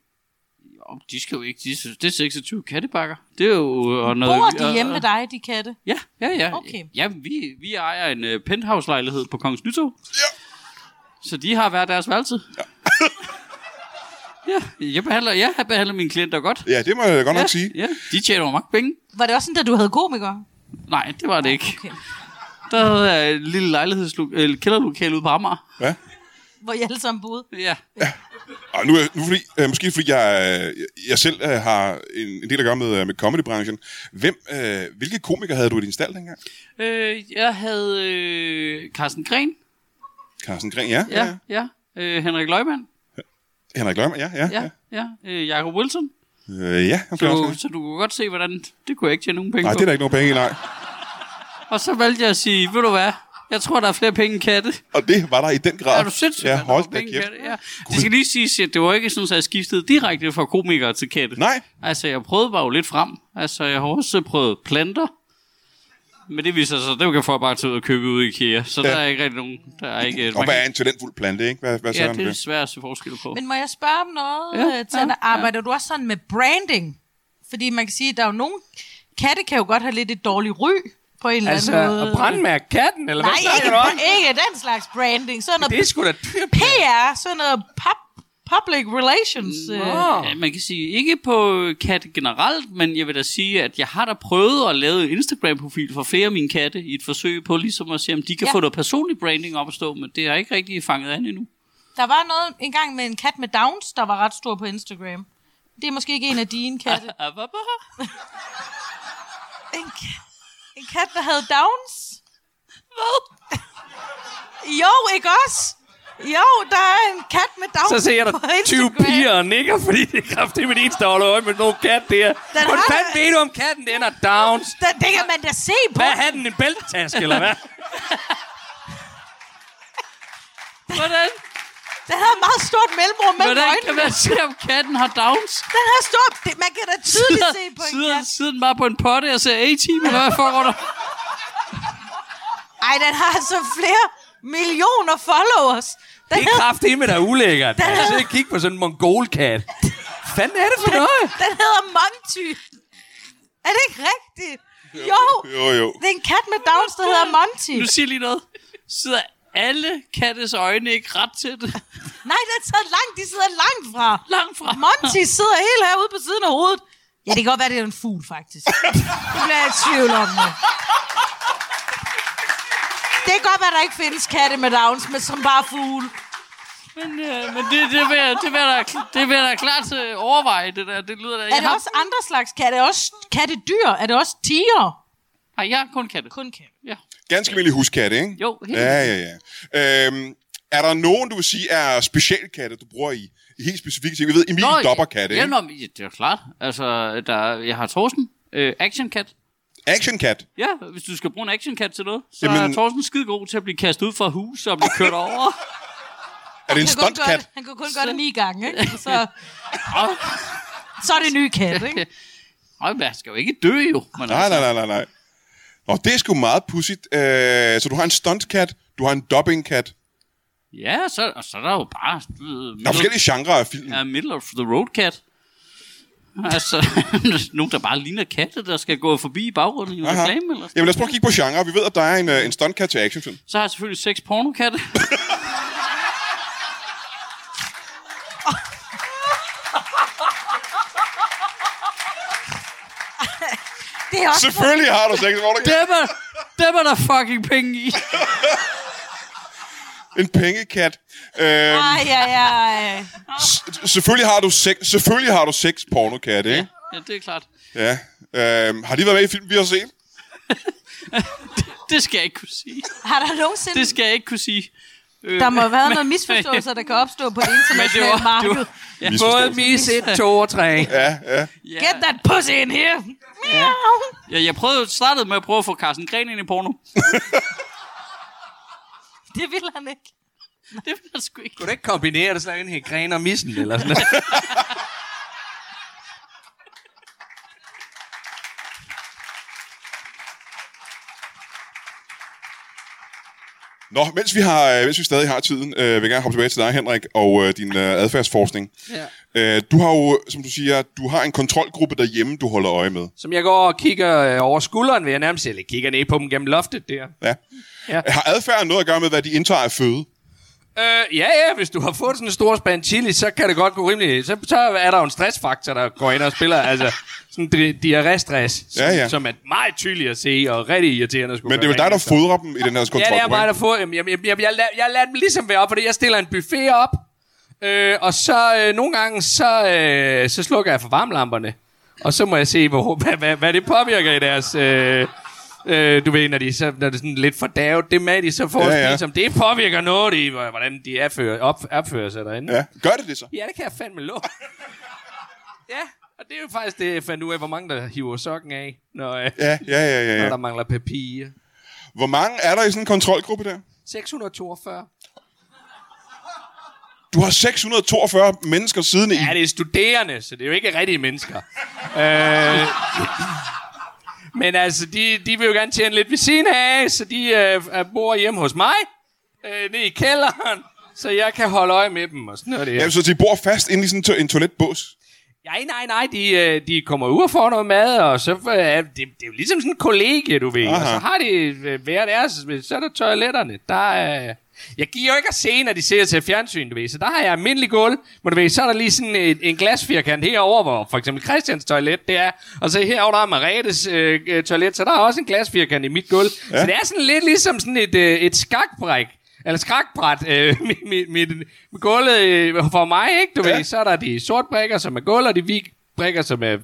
Speaker 5: Jo, de skal jo ikke. De, synes- det er 26 kattebakker. Det er jo... øh, Og noget,
Speaker 6: Bor de
Speaker 5: og-
Speaker 6: hjemme med dig, de katte?
Speaker 5: Ja, ja, ja.
Speaker 6: Okay.
Speaker 5: Ja, vi, vi ejer en uh, penthouse-lejlighed på Kongens Nytorv.
Speaker 1: Ja.
Speaker 5: Så de har hver deres værelse. Ja. ja, jeg behandler, jeg behandler mine klienter godt.
Speaker 1: Ja, det må jeg godt nok
Speaker 5: ja,
Speaker 1: sige.
Speaker 5: Ja, de tjener jo mange penge.
Speaker 6: Var det også sådan, da du havde komikere?
Speaker 5: Nej, det var det ikke.
Speaker 6: Okay.
Speaker 5: Der havde jeg et lille lejlighedslo- eller kælderlokale ude på Amager.
Speaker 1: Ja.
Speaker 6: Hvor I alle sammen boede?
Speaker 5: Ja,
Speaker 1: Og nu, er- nu fordi, øh, måske fordi jeg, øh, jeg selv øh, har en, en del at gøre med, øh, med comedybranchen. Hvem, øh, hvilke komikere havde du i din stald dengang?
Speaker 5: øh, jeg havde øh, Carsten Gren.
Speaker 1: Carsten Gren, ja.
Speaker 5: Ja, ja. Øh, Henrik Løgman.
Speaker 1: Henrik Løgman, ja. Ja, ja.
Speaker 5: Ja, ja. Øh, Jacob Wilson.
Speaker 1: Øh, ja han
Speaker 5: Så,
Speaker 1: blev også...
Speaker 5: så du kunne godt se, hvordan... Det kunne jeg ikke tjene nogen penge
Speaker 1: Nej,
Speaker 5: på.
Speaker 1: det er der ikke nogen penge i, nej.
Speaker 5: Og så valgte jeg at sige, ved du hvad, jeg tror, der er flere penge end katte.
Speaker 1: Og det var der i den grad.
Speaker 5: Er du sindssygt?
Speaker 1: Ja,
Speaker 5: mand? Der var
Speaker 1: hold da
Speaker 5: penge i
Speaker 1: kæft.
Speaker 5: katte, Ja. Det skal lige siges, at det var ikke sådan, at jeg skiftede direkte fra komikere til katte.
Speaker 1: Nej.
Speaker 5: Altså, jeg prøvede bare jo lidt frem. Altså, jeg har også prøvet planter. Men det viser sig, at dem kan folk bare tage ud og købe ude i IKEA. Så ja. der er ikke rigtig nogen... Der er ikke,
Speaker 1: Og
Speaker 5: man kan-
Speaker 1: hvad er en talentfuld plante, ikke? Hvad, hvad ja,
Speaker 5: Ja,
Speaker 1: det...
Speaker 5: det er
Speaker 1: det?
Speaker 5: svært at se forskel på.
Speaker 6: Men må jeg spørge om noget?
Speaker 5: Ja,
Speaker 6: Ja, Tanne?
Speaker 5: ja,
Speaker 6: Arbejder du også sådan med branding? Fordi man kan sige, at der er jo nogen... Katte kan jo godt have lidt et dårligt ry, På en eller anden
Speaker 7: Altså,
Speaker 6: måde. øh,
Speaker 7: at brandmærke katten, eller
Speaker 6: Nej,
Speaker 7: hvad snakker
Speaker 6: ikke,
Speaker 7: du om?
Speaker 6: ikke den slags branding. Sådan noget
Speaker 7: Det er sgu da dyrt.
Speaker 6: PR, sådan noget pop, public relations. Øh.
Speaker 7: Nå.
Speaker 5: Ja, man kan sige, ikke på katte generelt, men jeg vil da sige, at jeg har da prøvet at lave en Instagram-profil for flere af mine katte i et forsøg på ligesom at se, om de kan
Speaker 6: Ja.
Speaker 5: ja. få noget personlig branding op at stå, men det har ikke rigtig fanget an endnu.
Speaker 6: Der var noget engang med en kat med Downs, der var ret stor på Instagram. Det er måske ikke en af dine katte.
Speaker 5: Ah, hvad var det?
Speaker 6: En, ka- en kat, der havde Downs? Hvad? Jo, ikke også? Jo, der er en kat med Downs
Speaker 7: Så ser der
Speaker 6: på
Speaker 7: 20
Speaker 6: Instagram.
Speaker 7: piger og nikker, fordi det er kraftigt med eneste, der holder øje med nogen kat der. Hvordan
Speaker 6: har-
Speaker 7: fanden ved du, om katten den er downs?
Speaker 6: Det, det kan man da se på.
Speaker 7: Hvad har den, en bæltetaske, eller hvad?
Speaker 5: Hvordan,
Speaker 6: Den havde et meget stort mellemrum mellem
Speaker 5: hvordan kan
Speaker 6: øjnene.
Speaker 5: man se, om katten har downs?
Speaker 6: Den havde stort... Det, man kan da tydeligt se på en
Speaker 5: sidder,
Speaker 6: kat.
Speaker 5: sidder bare på en potte og ser A-team, eller hvad foregår der?
Speaker 6: Ej, den har altså flere millioner followers. Den
Speaker 7: Det er
Speaker 6: hedder-
Speaker 7: kraftigt med, der er ulækkert. Altså,
Speaker 6: Den-
Speaker 7: Jeg sidder og kigger på sådan en mongolkat. Fanden er det for noget?
Speaker 6: Den hedder Monty. Er det ikke rigtigt? Jo.
Speaker 8: Jo, jo.
Speaker 6: Det er en kat med Downs, der hedder Monty.
Speaker 5: Nu siger jeg lige noget. Sidder alle kattes øjne ikke ret til det?
Speaker 6: Nej, den sidder langt. De sidder langt fra.
Speaker 5: Langt fra.
Speaker 6: Monty sidder helt herude på siden af hovedet. Ja, det kan godt være, det er en fugl, faktisk. Det bliver jeg i tvivl om. nu. Det kan godt være, der ikke findes katte med Downs, men som bare fugle.
Speaker 5: Men, øh, men det, det, vil jeg, det, vil jeg da, det vil jeg da klart øh, overveje, det der. Det lyder
Speaker 7: Øh,
Speaker 5: da...
Speaker 6: Er
Speaker 5: Jeg
Speaker 6: det
Speaker 5: har,
Speaker 6: også andre slags katte? Er det også kattedyr? Er det også tiger?
Speaker 5: Nej, jeg har kun katte.
Speaker 6: Kun katte.
Speaker 5: Ja.
Speaker 1: Ganske almindelig huskatte, ikke?
Speaker 5: Jo, helt
Speaker 1: Ja, ja, ja. Øhm, er der nogen, du vil sige, er specialkatte, du bruger i, i helt specifikke ting? Vi ved, Emil
Speaker 5: Nå,
Speaker 1: dopper katte,
Speaker 5: ja,
Speaker 1: ikke?
Speaker 5: nå, men ja, det er klart. Altså, der, er- jeg har Thorsten. Øh, actionkat.
Speaker 1: Actionkat.
Speaker 5: Ja, hvis du skal bruge en actionkat til noget, så
Speaker 1: Jamen-
Speaker 5: Jamen... er Thorsten skide god til at blive kastet ud fra hus og blive kørt over.
Speaker 1: Er det en
Speaker 6: Han kunne, kun
Speaker 1: stuntkat?
Speaker 6: godt, han kunne kun gøre det ni gange, ikke? Så, så er det en ny kat, ikke?
Speaker 5: Øj, man skal jo ikke dø jo. altså Men
Speaker 1: Nej, nej, nej, nej, nej. Nå, det er sgu meget pudsigt. Øh, så du har en stuntkat, du har en dubbingkat.
Speaker 5: Ja, så, og så er der jo bare... du ved,
Speaker 1: Der er forskellige genrer af film.
Speaker 5: Ja, middle of the road cat. Altså, nogen, der bare ligner katte, der skal gå forbi i baggrunden i en
Speaker 1: Aha.
Speaker 5: reklame. Eller sådan.
Speaker 1: Jamen lad os prøve at kigge på genre. Vi ved, at der er en, øh, en stuntkat til actionfilm.
Speaker 5: Så har jeg selvfølgelig seks pornokatte.
Speaker 6: Det er også
Speaker 1: Selvfølgelig har du sex, hvor der
Speaker 5: Dem er, dem er der fucking penge i.
Speaker 1: en pengekat. Øh,
Speaker 6: Ej, ej, ej.
Speaker 1: s- selvfølgelig har du sex, selvfølgelig har du sex pornokat, ikke?
Speaker 5: Ja, det er klart.
Speaker 1: Ja. Øh, har de været med i film, vi har set?
Speaker 5: Det skal jeg ikke kunne sige.
Speaker 6: Har der nogensinde...
Speaker 5: Det skal jeg ikke kunne sige. Øh,
Speaker 6: Der må have været noget misforståelse, der kan opstå på det internationale
Speaker 5: Men det var- det
Speaker 6: marked.
Speaker 5: var- ja.
Speaker 7: Både mis 1, 2 og 3.
Speaker 6: Get that pussy in here! Miau!
Speaker 5: Ja, jeg prøvede, startede med at prøve at få Carsten Gren ind i porno.
Speaker 6: Det vil han ikke.
Speaker 5: Det var jeg sgu ikke.
Speaker 7: Kunne du ikke kombinere det sådan en her gren og missen, eller sådan noget?
Speaker 1: Nå, mens vi, har, øh, mens vi stadig har tiden, øh, vil jeg gerne hoppe tilbage til dig, Henrik, og øh, din øh, adfærdsforskning. Ja. Øh, du har jo, som du siger, du har en kontrolgruppe derhjemme, du holder øje med.
Speaker 7: Som jeg går og kigger øh, over skulderen, vil jeg nærmest sige, eller kigger ned på dem gennem loftet der.
Speaker 1: Ja.
Speaker 7: Ja.
Speaker 1: ja. Har adfærd noget at gøre med, hvad de indtager af føde?
Speaker 7: Øh, ja, ja, hvis du har fået sådan en stor spand chili, så kan det godt gå rimeligt. Så, så er der jo en stressfaktor, der går ind og spiller. altså, sådan en diarré-stress, som,
Speaker 1: Ja, ja.
Speaker 7: som er meget tydelig at se, og rigtig irriterende at skulle
Speaker 1: Men det er jo
Speaker 7: gøre
Speaker 1: dig, der
Speaker 7: rent efter.
Speaker 1: fodrer dem i den her
Speaker 7: Ja,
Speaker 1: kontrolgruppe.
Speaker 7: det er mig,
Speaker 1: ikke?
Speaker 7: der får... Jamen, jeg, jeg, jeg, jeg, lader- jeg lader dem ligesom være op, fordi jeg stiller en buffet op, øh, og så øh, nogle gange, så, øh, så slukker jeg for varmlamperne. Og så må jeg se, hvor, hvad, hvad, hvad det påvirker i deres... Øh, øh, du ved, når, de, så, når det er sådan lidt fordavet, det mad, de så får
Speaker 1: Ja,
Speaker 7: ja,
Speaker 1: ja.
Speaker 7: ja. Som, det påvirker noget i, hvor- hvordan de opfører, op, opfører sig derinde.
Speaker 1: Ja. Gør det det så?
Speaker 7: ja, det kan jeg fandme lov. ja, og det er jo faktisk det, jeg fandt ud af, hvor mange der hiver sokken af, når, øh, ja,
Speaker 1: Ja, ja, ja, ja.
Speaker 7: ja. når
Speaker 1: ja.
Speaker 7: der mangler papir.
Speaker 1: Hvor mange er der i sådan en kontrolgruppe der?
Speaker 7: 642.
Speaker 1: Du har 642 mennesker siden i.
Speaker 7: Ja, det er studerende, så det er jo ikke rigtige mennesker. øh, men altså, de, de vil jo gerne tjene lidt ved siden af, så de øh, er- bor hjemme hos mig, øh, nede i kælderen, så jeg kan holde øje med dem og sådan noget der.
Speaker 1: Ja, så de bor fast inde i sådan en to- en toiletbås.
Speaker 7: Nej, nej, nej, de, øh, de kommer ud og får noget mad, og så øh, er det, det er jo ligesom sådan en kollegie, du ved. Aha. Og så har de øh, hver deres, men så er der toiletterne. Der er, jeg giver jo ikke at se, når de ser til fjernsyn, du ved. Så der har jeg almindelig gulv, men du ved, så er der lige sådan et, en glasfirkant herover, hvor for eksempel Christians toilet det er. Og så herover der er Marettes øh, øh, toilet, så der er også en glasfirkant i mit gulv. Ja. Så det er sådan lidt ligesom sådan et, øh, et skakbræk. Eller skrakbræt. Øh, mit, mit, mit, mit gulvet øh, for mig, ikke? Du ja. ved, så er der de sorte brikker, som er gulv, og de hvide brikker, som er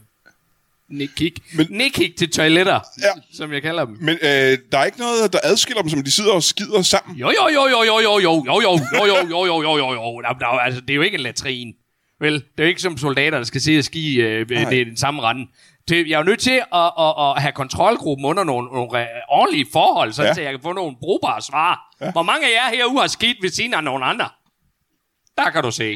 Speaker 7: nikik.
Speaker 1: Men-
Speaker 7: Men... Nikik til toiletter,
Speaker 1: Ja.
Speaker 7: ja. som jeg kalder dem.
Speaker 1: Men øh, der er ikke noget, der adskiller dem, som de sidder og skider sammen.
Speaker 7: Jo, jo, jo, jo, jo, jo, jo, jo, jo, jo, jo, jo, jo, jo, jo, jo. Nå, nå, altså, det er jo ikke en latrine. Vel, det er jo ikke som soldater, der skal sidde og ski øh, øh, det er den samme rende. Det, jeg er jo nødt til at, at, at have kontrolgruppen under nogle, nogle øh, ordentlige forhold, sådan
Speaker 1: Ja.
Speaker 7: ja. så jeg kan få nogle brugbare svar. Ja. Hvor mange af jer herude har skidt ved siden af nogen andre? Der kan du se.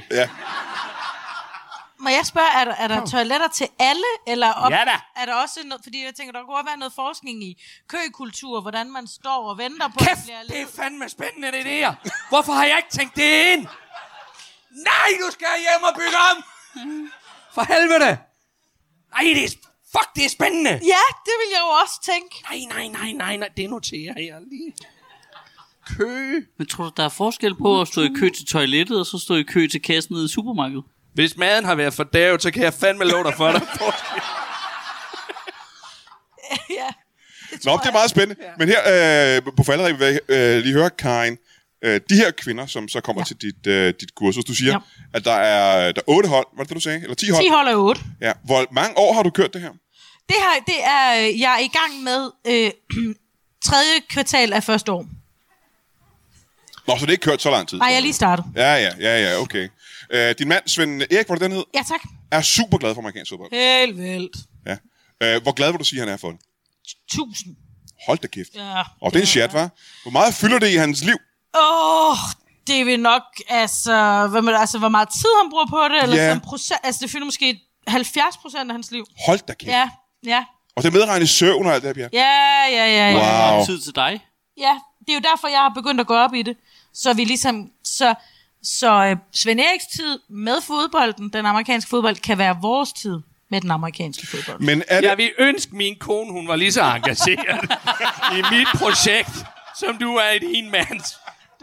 Speaker 6: Må jeg spørge, er der, er der toiletter til alle? Eller op,
Speaker 7: Ja da.
Speaker 6: Er der også noget, fordi jeg tænker, der kunne godt være noget forskning i køkultur, hvordan man står og venter på, at
Speaker 7: Kæft,
Speaker 6: det bliver
Speaker 7: det er
Speaker 6: lidt.
Speaker 7: fandme spændende, det der. Hvorfor har jeg ikke tænkt det ind? Nej, du skal hjem og bygge om! For helvede! Nej, det er, fuck, det er spændende!
Speaker 6: Ja, det vil jeg jo også tænke.
Speaker 7: Nej, nej, nej, nej, nej, det noterer jeg lige. Kø.
Speaker 5: Men tror du, der er forskel på at stå i kø til toilettet, og så stå i kø til kassen nede i supermarkedet?
Speaker 7: Hvis maden har været for davet, så kan jeg fandme love dig for dig.
Speaker 6: ja.
Speaker 1: Nå, det er meget spændende. Ja. Men her øh, på falderæb vil jeg øh, lige høre, Karin. Øh, de her kvinder, som så kommer ja. til dit, øh, dit kursus, du siger, ja.
Speaker 6: Ja.
Speaker 1: at der er, der er 8 hold, var det det, du sagde? Eller 10 hold?
Speaker 6: 10 holder 8.
Speaker 1: Ja. Hvor mange år har du kørt det her?
Speaker 6: Det her, det er, øh, jeg er i gang med øh, tredje kvartal af første år.
Speaker 1: Nå, så det er ikke kørt så lang tid.
Speaker 6: Nej, jeg er lige startet.
Speaker 1: Ja, ja, ja, ja, okay. Øh, din mand, Svend Erik, var det den hed,
Speaker 6: Ja, tak.
Speaker 1: er super glad for amerikansk fodbold.
Speaker 6: Helt vildt.
Speaker 1: Ja. Øh, hvor glad vil du sige, han er for det?
Speaker 6: 1000.
Speaker 1: Hold da kæft. Ja.
Speaker 6: Ja.
Speaker 1: Og det er en chat, var. Hvor meget fylder det i hans liv?
Speaker 6: Åh, oh, det vil nok, altså, hvad med, altså, hvor meget tid han bruger på det, eller
Speaker 1: Ja.
Speaker 6: yeah. som procent, altså, det fylder måske 70 procent af hans liv.
Speaker 1: Hold da kæft. Ja.
Speaker 6: Ja, ja,
Speaker 1: Og det medregner søvn og alt det her, Bjerg.
Speaker 6: ja, ja, ja, ja.
Speaker 5: Der
Speaker 1: Wow.
Speaker 5: er tid til dig.
Speaker 6: ja. Det er jo derfor, jeg har begyndt at gå op i det. Så vi ligesom, så, så øh, Svend Eriks tid med fodbolden, den amerikanske fodbold, kan være vores tid med den amerikanske fodbold.
Speaker 1: Men er det...
Speaker 7: Jeg vil ønske min kone, hun var lige så engageret i mit projekt, som du er i din mands.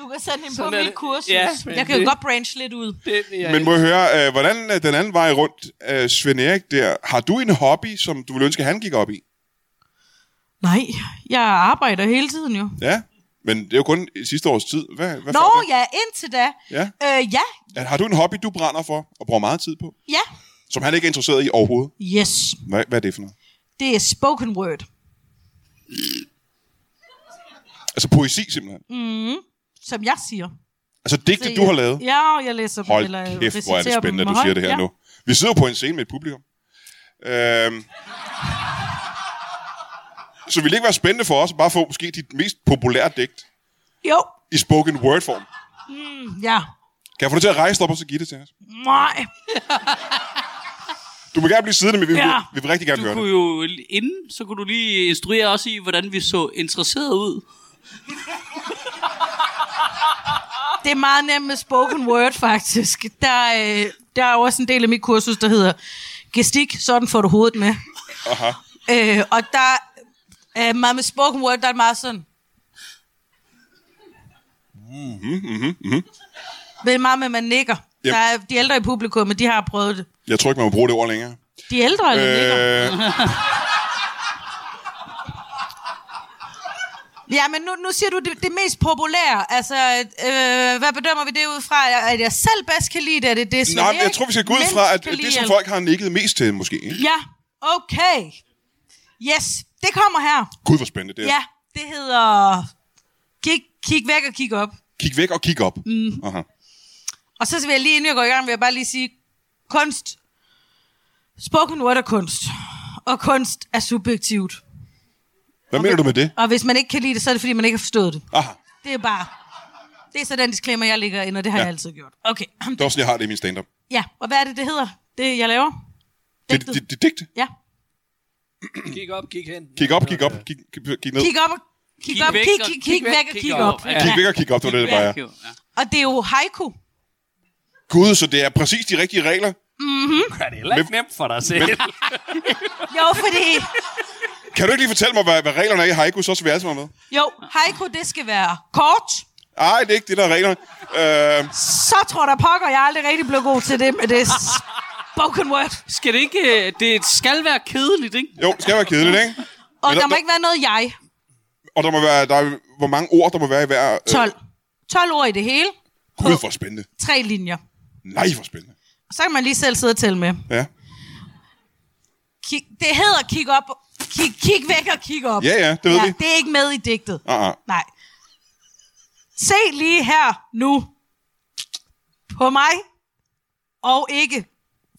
Speaker 6: Du kan sende hende
Speaker 7: Sådan
Speaker 6: på
Speaker 7: er
Speaker 6: mit
Speaker 7: det.
Speaker 6: kursus.
Speaker 7: Ja,
Speaker 6: Ja,
Speaker 7: men
Speaker 6: jeg kan jo
Speaker 7: det-
Speaker 6: godt branche lidt ud.
Speaker 7: Det, jeg,
Speaker 1: Men må jeg høre, øh, hvordan øh, den anden vej rundt, øh, Svend Erik der, har du en hobby, som du ville ønske, han gik op i?
Speaker 6: Nej, jeg arbejder hele tiden jo.
Speaker 1: Ja, men det er jo kun i sidste års tid. Hvad, hvad
Speaker 6: Nå
Speaker 1: får du?
Speaker 6: ja, indtil da.
Speaker 1: Ja.
Speaker 6: Øh, ja,
Speaker 1: Er- Har du en hobby, du brænder for og bruger meget tid på,
Speaker 6: ja.
Speaker 1: som han ikke er interesseret i overhovedet?
Speaker 6: Yes,
Speaker 1: Hvad, hvad er det for noget?
Speaker 6: det er spoken word.
Speaker 1: Altså poesi simpelthen. Mm.
Speaker 6: Mm-hmm. Som jeg siger.
Speaker 1: Altså digte, du
Speaker 6: jeg,
Speaker 1: har lavet.
Speaker 6: Ja, og jeg læser dem.
Speaker 1: Hold
Speaker 6: eller
Speaker 1: kæft, hvor er det
Speaker 6: reciterer
Speaker 1: spændende, at du
Speaker 6: dem med
Speaker 1: siger
Speaker 6: hånd.
Speaker 1: det her
Speaker 6: ja.
Speaker 1: nu. Vi sidder jo på en scene med et publikum. Øhm, så ville det ikke være spændende for os at bare få måske dit mest populære digt
Speaker 6: Jo,
Speaker 1: i spoken word form?
Speaker 6: Mm, ja.
Speaker 1: Kan jeg få dig til at rejse dig op og så give det til os?
Speaker 6: Nej.
Speaker 1: Du må gerne blive siddende, men vi, ja.
Speaker 6: Ja.
Speaker 1: vil, vi vil rigtig gerne
Speaker 5: Du
Speaker 1: gøre
Speaker 5: kunne
Speaker 1: det.
Speaker 5: jo inden, så kunne du lige instruere os i, hvordan vi så interesseret ud.
Speaker 6: Det er meget nemt med spoken word, faktisk. Der, øh, der er jo også en del af mit kursus, der hedder gestik, sådan får du hovedet med.
Speaker 1: Aha.
Speaker 6: Øh, og der er øh, meget med spoken word, der er meget sådan... Mm-hmm,
Speaker 1: Mhm.
Speaker 6: mm-hmm. Det er meget med, at man nikker.
Speaker 1: Yep.
Speaker 6: Yep. Der er, de ældre i publikummet, de har prøvet det.
Speaker 1: Jeg tror ikke, man må bruge det ord længere.
Speaker 6: De ældre eller øh... nikker.
Speaker 1: Øh,
Speaker 6: Ja, men nu, nu siger du det, det mest populære. Altså, øh, hvad bedømmer vi det ud fra? At jeg selv bedst kan lide det? Er det, det som
Speaker 1: nej, men jeg
Speaker 6: ikke
Speaker 1: tror, vi skal gå ud
Speaker 6: mindst
Speaker 1: fra, at
Speaker 6: kan
Speaker 1: det,
Speaker 6: lide,
Speaker 1: som
Speaker 6: eller-
Speaker 1: folk har nikket mest til, måske. Ikke?
Speaker 6: Ja, okay. Yes, det kommer her.
Speaker 1: Gud, hvor spændende det
Speaker 6: Ja,
Speaker 1: er.
Speaker 6: ja det hedder... Kig, kig væk og kig op.
Speaker 1: Kig væk og kig op. Mm. Aha.
Speaker 6: Og så vil jeg lige, inden jeg går i gang, vil jeg bare lige sige, kunst, spoken word er kunst. Og kunst er subjektivt.
Speaker 1: Hvad mener du med det?
Speaker 6: Og hvis man ikke kan lide det, så er det, fordi man ikke har forstået det.
Speaker 1: Aha.
Speaker 6: Det er bare... Det er så den disclaimer, jeg ligger ind, og det har
Speaker 1: Ja.
Speaker 6: ja. jeg altid gjort. Okay.
Speaker 1: Det var sådan, jeg har det i min stand-up.
Speaker 6: Ja, og hvad er det, det hedder? Det, jeg laver?
Speaker 1: Det,
Speaker 6: Digtet.
Speaker 1: det, det, digte.
Speaker 6: Ja.
Speaker 7: Kig op, kig hen.
Speaker 1: Kig op, kig op, kig, kig, kig ned.
Speaker 6: Kig op og kig,
Speaker 5: Kig
Speaker 6: op,
Speaker 5: væk
Speaker 6: kig,
Speaker 5: og
Speaker 6: kig, kig, væk og kig op.
Speaker 5: Ja.
Speaker 1: Kig væk og kig op, det var det, det var jeg.
Speaker 5: Ja.
Speaker 6: Og det er jo haiku.
Speaker 1: Gud, så det er præcis de rigtige regler,
Speaker 7: Gør det heller ikke nemt for dig selv.
Speaker 6: Mm-hmm. Jo, fordi...
Speaker 9: Kan du ikke lige fortælle mig, hvad, hvad reglerne er i haiku, så skal vi alle sammen være med?
Speaker 6: Jo, haiku, det skal være kort.
Speaker 9: Ej, det er ikke det, der er reglerne. Øh,
Speaker 6: Så tror der pokker, jeg aldrig rigtig blev god til det med det spoken word.
Speaker 5: Skal det ikke... øh, Det skal være kedeligt, ikke?
Speaker 9: jo, det skal være kedeligt, ikke?
Speaker 6: Og
Speaker 9: Men
Speaker 6: der
Speaker 9: der-
Speaker 6: må ikke være noget jeg.
Speaker 9: Og der må være, der er, hvor mange ord, der må være i hver... Øh,
Speaker 6: 12. 12 ord i det hele.
Speaker 9: Gud, hvor spændende.
Speaker 6: Tre linjer.
Speaker 9: Nej, hvor spændende.
Speaker 6: Så kan man lige selv sidde og tælle med.
Speaker 9: Ja,
Speaker 6: Kig, det hedder kig op. Kig, kig væk og kig op.
Speaker 9: ja, ja det ved vi.
Speaker 6: det er ikke med i digtet.
Speaker 9: Ah,
Speaker 1: Uh-uh.
Speaker 9: ah.
Speaker 6: Nej. Se lige her nu på mig, og ikke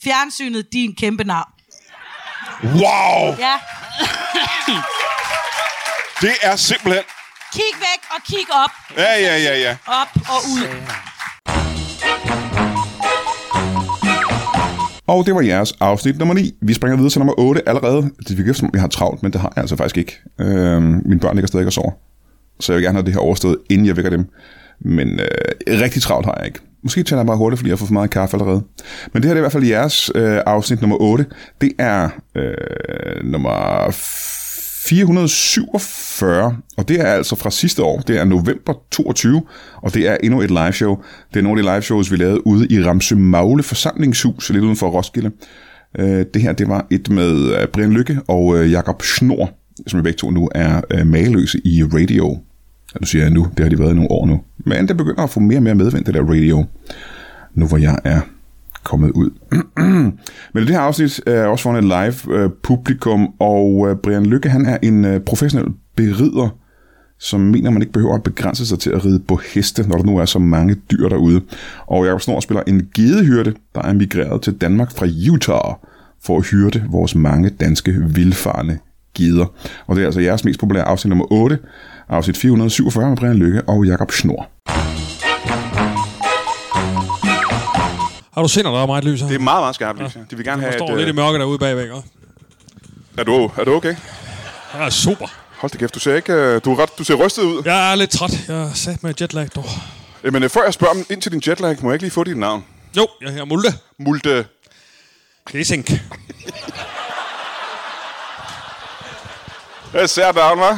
Speaker 6: fjernsynet din kæmpe navn.
Speaker 9: Wow!
Speaker 6: Ja,
Speaker 9: Det er simpelthen...
Speaker 6: kig væk og kig op,
Speaker 9: Ja, ja, ja, ja.
Speaker 6: op og ud.
Speaker 1: Og det var jeres afsnit nummer 9. Vi springer videre til nummer 8 allerede. Det virker som, om jeg har travlt, men det har jeg altså faktisk ikke. Øhm, mine børn ligger stadig og sover. Så jeg vil gerne have det her overstået, inden jeg vækker dem. Men øh, rigtig travlt har jeg ikke. Måske taler jeg bare hurtigt, fordi jeg har fået for meget kaffe allerede. Men det her det er i hvert fald jeres øh, afsnit nummer 8. Det er øh, nummer 447, og det er altså fra sidste år. Det er november 22, og det er endnu et liveshow. Det er nogle af de liveshows, vi lavede ude i Ramsø Magle forsamlingshus, lidt uden for Roskilde. Øh, det her, det var et med øh, Brian Lykke og øh, Jakob Snor, som vi begge to nu er øh, mageløse i radio. Ja, Nu siger jeg nu, det har de været i nogle år nu. Men det begynder at få mere og mere medvind, det der radio, nu hvor jeg er kommet ud. Men i det her afsnit er også foran et live øh, publikum, og øh, Brian Lykke, han er en øh, professionel berider, som mener, man ikke behøver at begrænse sig til at ride på heste, når der nu er så mange dyr derude. Og Jacob Snor spiller en gedehyrde, der er migreret til Danmark fra Utah for at hyrde vores mange danske vildfarne geder. Og det er altså jeres mest populære afsnit nummer 8, afsnit 447 med Brian Lykke og Jakob Snor.
Speaker 10: Har du set, at der er meget lys her?
Speaker 9: Det er meget, meget skarpt lys. Ja. De vil gerne
Speaker 10: Der
Speaker 9: have...
Speaker 10: står
Speaker 9: et,
Speaker 10: lidt i
Speaker 9: øh,
Speaker 10: mørke derude bagved, ikke?
Speaker 9: er, du, er du okay?
Speaker 10: Jeg er super.
Speaker 9: Hold da kæft, du ser ikke... øh, Du, er ret, du ser rystet ud. Ja.
Speaker 10: Jeg er lidt træt. Jeg er sat med jetlag, dog.
Speaker 9: Men øh, før jeg spørger om ind til din jetlag, må jeg ikke lige få dit navn?
Speaker 10: Jo, jeg hedder Multe.
Speaker 9: Multe...
Speaker 10: Gæsink.
Speaker 9: Hvad ser navn, hva'?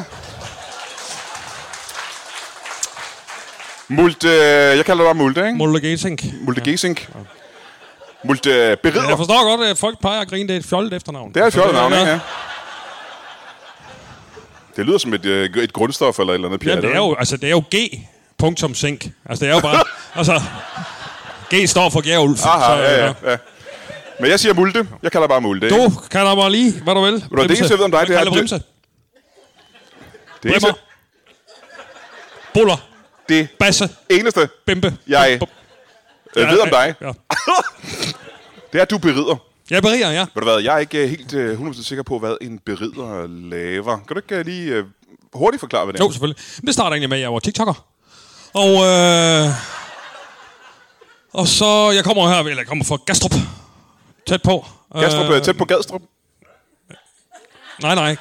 Speaker 9: Multe... øh, Jeg kalder dig bare Multe, ikke?
Speaker 10: Multe Gæsink.
Speaker 9: Multe Gesink. Multe øh,
Speaker 10: Ja,
Speaker 9: Berider.
Speaker 10: jeg forstår godt, at folk peger og griner. Det er et fjollet efternavn.
Speaker 9: Det er et fjollet navn, ikke?
Speaker 10: Ja,
Speaker 9: Ja. Det lyder som et, øh, et grundstof eller et eller andet. pjat,
Speaker 10: Jamen, det er
Speaker 9: ikke?
Speaker 10: jo, altså, det er jo G. Punktum sink. Altså, det er jo bare... altså, G står for Gærulf.
Speaker 9: Aha, ja, ja, ja. Men jeg siger Multe. Jeg kalder bare Multe. ikke?
Speaker 10: Du kan da bare lige, hvad du vil.
Speaker 9: det eneste, jeg ved om dig, det er,
Speaker 10: Kalle
Speaker 9: at du-
Speaker 10: Brimse.
Speaker 9: det, eneste,
Speaker 10: Brimmer. Buller.
Speaker 9: det
Speaker 10: Basse.
Speaker 9: eneste,
Speaker 10: Bimpe.
Speaker 9: Jeg-
Speaker 10: Bum, bum.
Speaker 9: jeg ved om dig,
Speaker 10: Ja.
Speaker 9: det er, at du berider.
Speaker 10: Jeg beriger, ja.
Speaker 9: Ved du hvad, jeg er ikke øh, helt øh, 100% sikker på, hvad en berider laver. Kan du ikke øh, lige øh, hurtigt forklare, hvad det er?
Speaker 10: Jo, selvfølgelig. Men det starter egentlig med, at jeg var TikToker. Og, øh, og så, jeg kommer her, eller jeg kommer fra Gastrup. Tæt på.
Speaker 9: Gastrup, øh, tæt på Gadstrup.
Speaker 10: Nej, nej.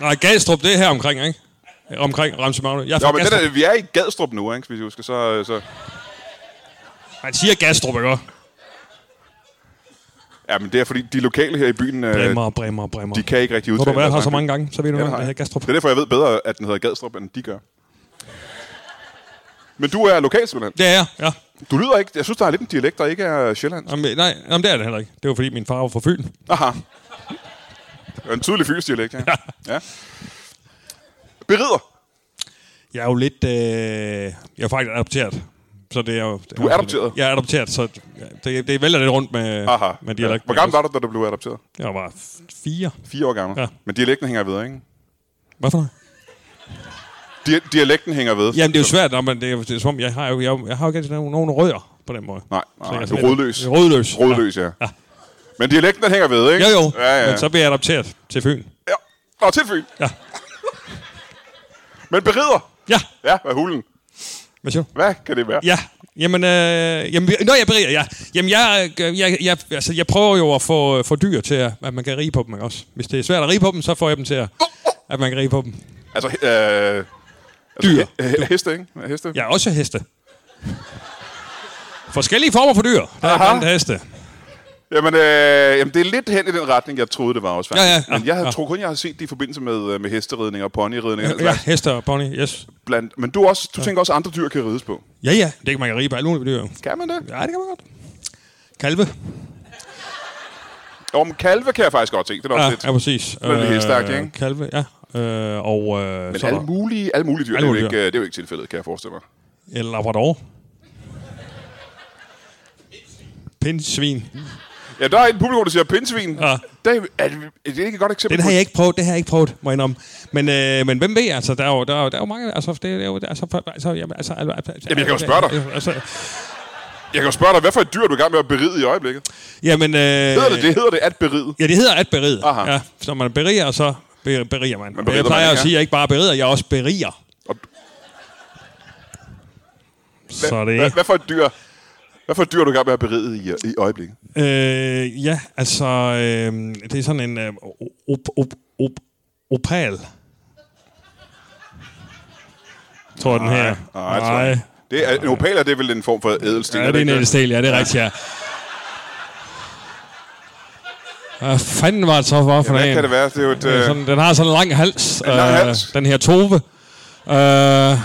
Speaker 10: Nej, Gastrup, det er her omkring, ikke? Omkring Ramse Magne. Jeg er fra
Speaker 9: Jo, men den
Speaker 10: Gastrup.
Speaker 9: er, vi er i Gadstrup nu, ikke? Hvis vi husker, så... øh, så
Speaker 10: Han siger Gastrup, ikke?
Speaker 9: ja, men det er fordi, de lokale her i byen, øh,
Speaker 10: Bremmer, bremmer, bremmer.
Speaker 9: de kan ikke rigtig
Speaker 10: Når
Speaker 9: udtale
Speaker 10: du har været her
Speaker 9: deres
Speaker 10: så
Speaker 9: egen by.
Speaker 10: mange gange, så ved du,
Speaker 9: Ja,
Speaker 10: ja,
Speaker 9: det har
Speaker 10: det hedder
Speaker 9: jeg.
Speaker 10: Gastrup.
Speaker 9: Det er derfor, jeg ved bedre, at den hedder Gadstrup, end de gør. Men du er lokal, simpelthen.
Speaker 10: Det er jeg, ja.
Speaker 9: Du lyder ikke... Jeg synes, der er lidt en dialekt, der ikke er sjællandsk.
Speaker 10: Jamen, nej, jamen, det er det heller ikke. Det var fordi, min far var fra Fyn.
Speaker 9: Aha. Det er en tydelig fyns dialekt, ja. ja. Berider.
Speaker 10: Jeg er jo lidt... Øh, jeg er faktisk adopteret. Så det er jo,
Speaker 9: Du er adopteret?
Speaker 10: Jeg er adopteret, så det, det vælter lidt rundt med,
Speaker 9: Aha.
Speaker 10: med dialekt.
Speaker 9: Ja. Hvor gammel var du, da du blev adopteret?
Speaker 10: Jeg var f- fire.
Speaker 9: Fire år gammel. Ja.
Speaker 10: Ja.
Speaker 9: Men dialekten hænger ved, ikke?
Speaker 10: Hvad for noget?
Speaker 9: Di- dialekten hænger ved.
Speaker 10: Jamen, det er jo svært, når man, det, er, det er, som om, jeg har jo, jeg, jeg har jo ikke rigtig nogen, nogen rødder på den måde.
Speaker 9: Nej,
Speaker 10: Så
Speaker 9: nej,
Speaker 10: jeg
Speaker 9: du Ah, er
Speaker 10: sådan
Speaker 9: rodløs.
Speaker 10: lidt- Rodløs.
Speaker 9: Rodløs, ja. ja. Men dialekten, den hænger ved, ikke?
Speaker 10: Jo, jo.
Speaker 9: Ja, ja.
Speaker 10: Men så bliver jeg adopteret til Fyn.
Speaker 9: ja. Nå, til Fyn.
Speaker 10: Ja.
Speaker 9: Men berider.
Speaker 10: Ja,
Speaker 9: Ja, hvad hulen?
Speaker 10: hvad siger du?
Speaker 9: Hvad kan det være?
Speaker 10: Ja, jamen, øh, jamen vi- nå, jeg beriger, ja. Jamen, jeg, øh, jeg, jeg, altså, jeg prøver jo at få, øh, få dyr til, at, at man kan rige på dem, ikke også? Hvis det er svært at rige på dem, så får jeg dem til, at, at man kan rige på dem.
Speaker 9: Altså, øh,
Speaker 10: Dyr.
Speaker 9: øh, heste, ikke? Heste.
Speaker 10: Jeg er også heste. Forskellige former for dyr. Der er
Speaker 9: Aha.
Speaker 10: blandt heste.
Speaker 1: Jamen, øh, jamen, det er lidt hen i den retning, jeg troede, det var også, faktisk.
Speaker 10: Ja, ja, ja,
Speaker 1: men jeg havde
Speaker 10: ja.
Speaker 1: troet kun, jeg havde set det i forbindelse med, øh, med hesteridning og ponyridning. og den
Speaker 10: Ja,
Speaker 1: slags.
Speaker 10: hester og pony, yes.
Speaker 1: Blandt, men du, er også, du tænker også, andre dyr kan rides på.
Speaker 10: Ja, ja, det kan man kan rige på alle mulige dyr. jo.
Speaker 1: Kan man det?
Speaker 10: Ja, det kan man godt. Kalve.
Speaker 1: Om kalve kan jeg faktisk godt se. Det er da også
Speaker 10: Ja,
Speaker 1: ja, lidt.
Speaker 10: ja præcis. Øh,
Speaker 1: Men det er helt stærkt, ikke?
Speaker 10: Kalve, ja. Øh, og øh,
Speaker 1: Men
Speaker 10: så er
Speaker 1: alle
Speaker 10: der
Speaker 1: mulige, alle mulige dyr, det, er
Speaker 10: Alle mulige
Speaker 1: jo ikke,
Speaker 10: dyr.
Speaker 1: øh, det er jo ikke tilfældet, kan jeg forestille mig.
Speaker 10: en labrador. Pindsvin.
Speaker 1: Ja, der er et publikum, der siger pindsvin.
Speaker 10: Ja.
Speaker 1: Det er, er, det, er det ikke et godt eksempel
Speaker 10: Den har
Speaker 1: på-
Speaker 10: jeg ikke prøvet, det har jeg ikke prøvet, må jeg indrømme. Men, øh, men hvem ved, altså, der er jo, der er jo, der er jo mange, altså, det er jo, altså, for- altså, jamen, altså, altså, altså,
Speaker 1: Jamen, jeg kan jo spørge dig.
Speaker 10: Altså,
Speaker 1: Jeg kan jo spørge dig, hvad for et dyr er du i gang med at beride i øjeblikket?
Speaker 10: jamen, øh,
Speaker 1: Hedder det, det hedder det at beride.
Speaker 10: Ja, det hedder at berige.
Speaker 1: Aha.
Speaker 10: Ja, så når man beriger, så be- beriger man.
Speaker 1: Man
Speaker 10: man
Speaker 1: beriger,
Speaker 10: jeg plejer
Speaker 1: man,
Speaker 10: at
Speaker 1: ja.
Speaker 10: sige, at jeg ikke bare beriger, jeg også beriger.
Speaker 1: Og-
Speaker 10: Så det
Speaker 1: Hvad,
Speaker 10: er
Speaker 1: hvad for et dyr? Hvad for et dyr er du i gang med at beride i, i øjeblikket?
Speaker 10: øh, Ja, altså, øh, det er sådan en øh, op, op, op, opal. Tror jeg, den her.
Speaker 1: nej, tror jeg ikke. Det er, en opal er det vel en form for ædelsten?
Speaker 10: Ja, det er en
Speaker 1: ikke
Speaker 10: ædelstel, ja, det er rigtigt, ja. Hvad fanden var det så for, for
Speaker 1: Hvad
Speaker 10: en?
Speaker 1: kan det være? Det er jo et...
Speaker 10: Det er
Speaker 1: Øh,
Speaker 10: sådan, den har sådan en lang hals.
Speaker 1: En lang
Speaker 10: øh,
Speaker 1: hals.
Speaker 10: Den her Tove. Øh,
Speaker 1: lang hals.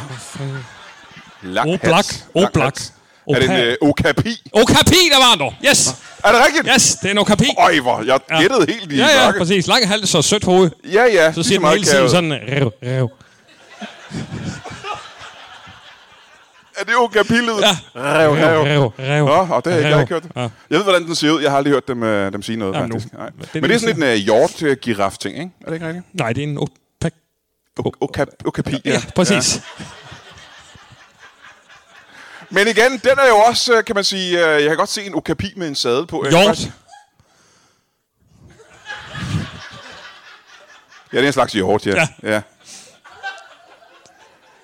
Speaker 10: Oblak.
Speaker 1: Lang
Speaker 10: Oblak.
Speaker 1: hals. Er det en
Speaker 10: Opal.
Speaker 1: øh, okapi?
Speaker 10: Okapi, der var den dog. Yes.
Speaker 1: Er det rigtigt?
Speaker 10: Yes, det er en okapi.
Speaker 1: Øj, hvor jeg gættede helt i
Speaker 10: Ja, ja,
Speaker 1: mørke.
Speaker 10: præcis. Lang hals og sødt hoved.
Speaker 1: Ja, ja.
Speaker 10: Så siger man hele tiden sådan... Rev, rev.
Speaker 1: Er det okapi-lyden?
Speaker 10: Ja.
Speaker 1: Rev, rev.
Speaker 10: Rev, rev.
Speaker 1: Nå, og det har jeg ikke, jeg har ikke hørt.
Speaker 10: Ja.
Speaker 1: Jeg ved, hvordan den ser ud. Jeg har aldrig hørt dem, øh, dem sige noget,
Speaker 10: Jamen, nu.
Speaker 1: faktisk. Nej.
Speaker 10: Det er
Speaker 1: Men det er
Speaker 10: lidt
Speaker 1: sådan en øh, hjort-giraf-ting, ikke? Er det ikke rigtigt?
Speaker 10: Nej, det er en opak.
Speaker 1: O- okap- Okapi,
Speaker 10: Ja, præcis.
Speaker 1: Men igen, den er jo også, øh, kan man sige, øh, jeg kan godt se en okapi med en sadel på. øh, Jeg kan
Speaker 10: Hjort.
Speaker 1: godt- Ja, det er en slags hjort, ja. ja.
Speaker 10: Ja.
Speaker 1: ja.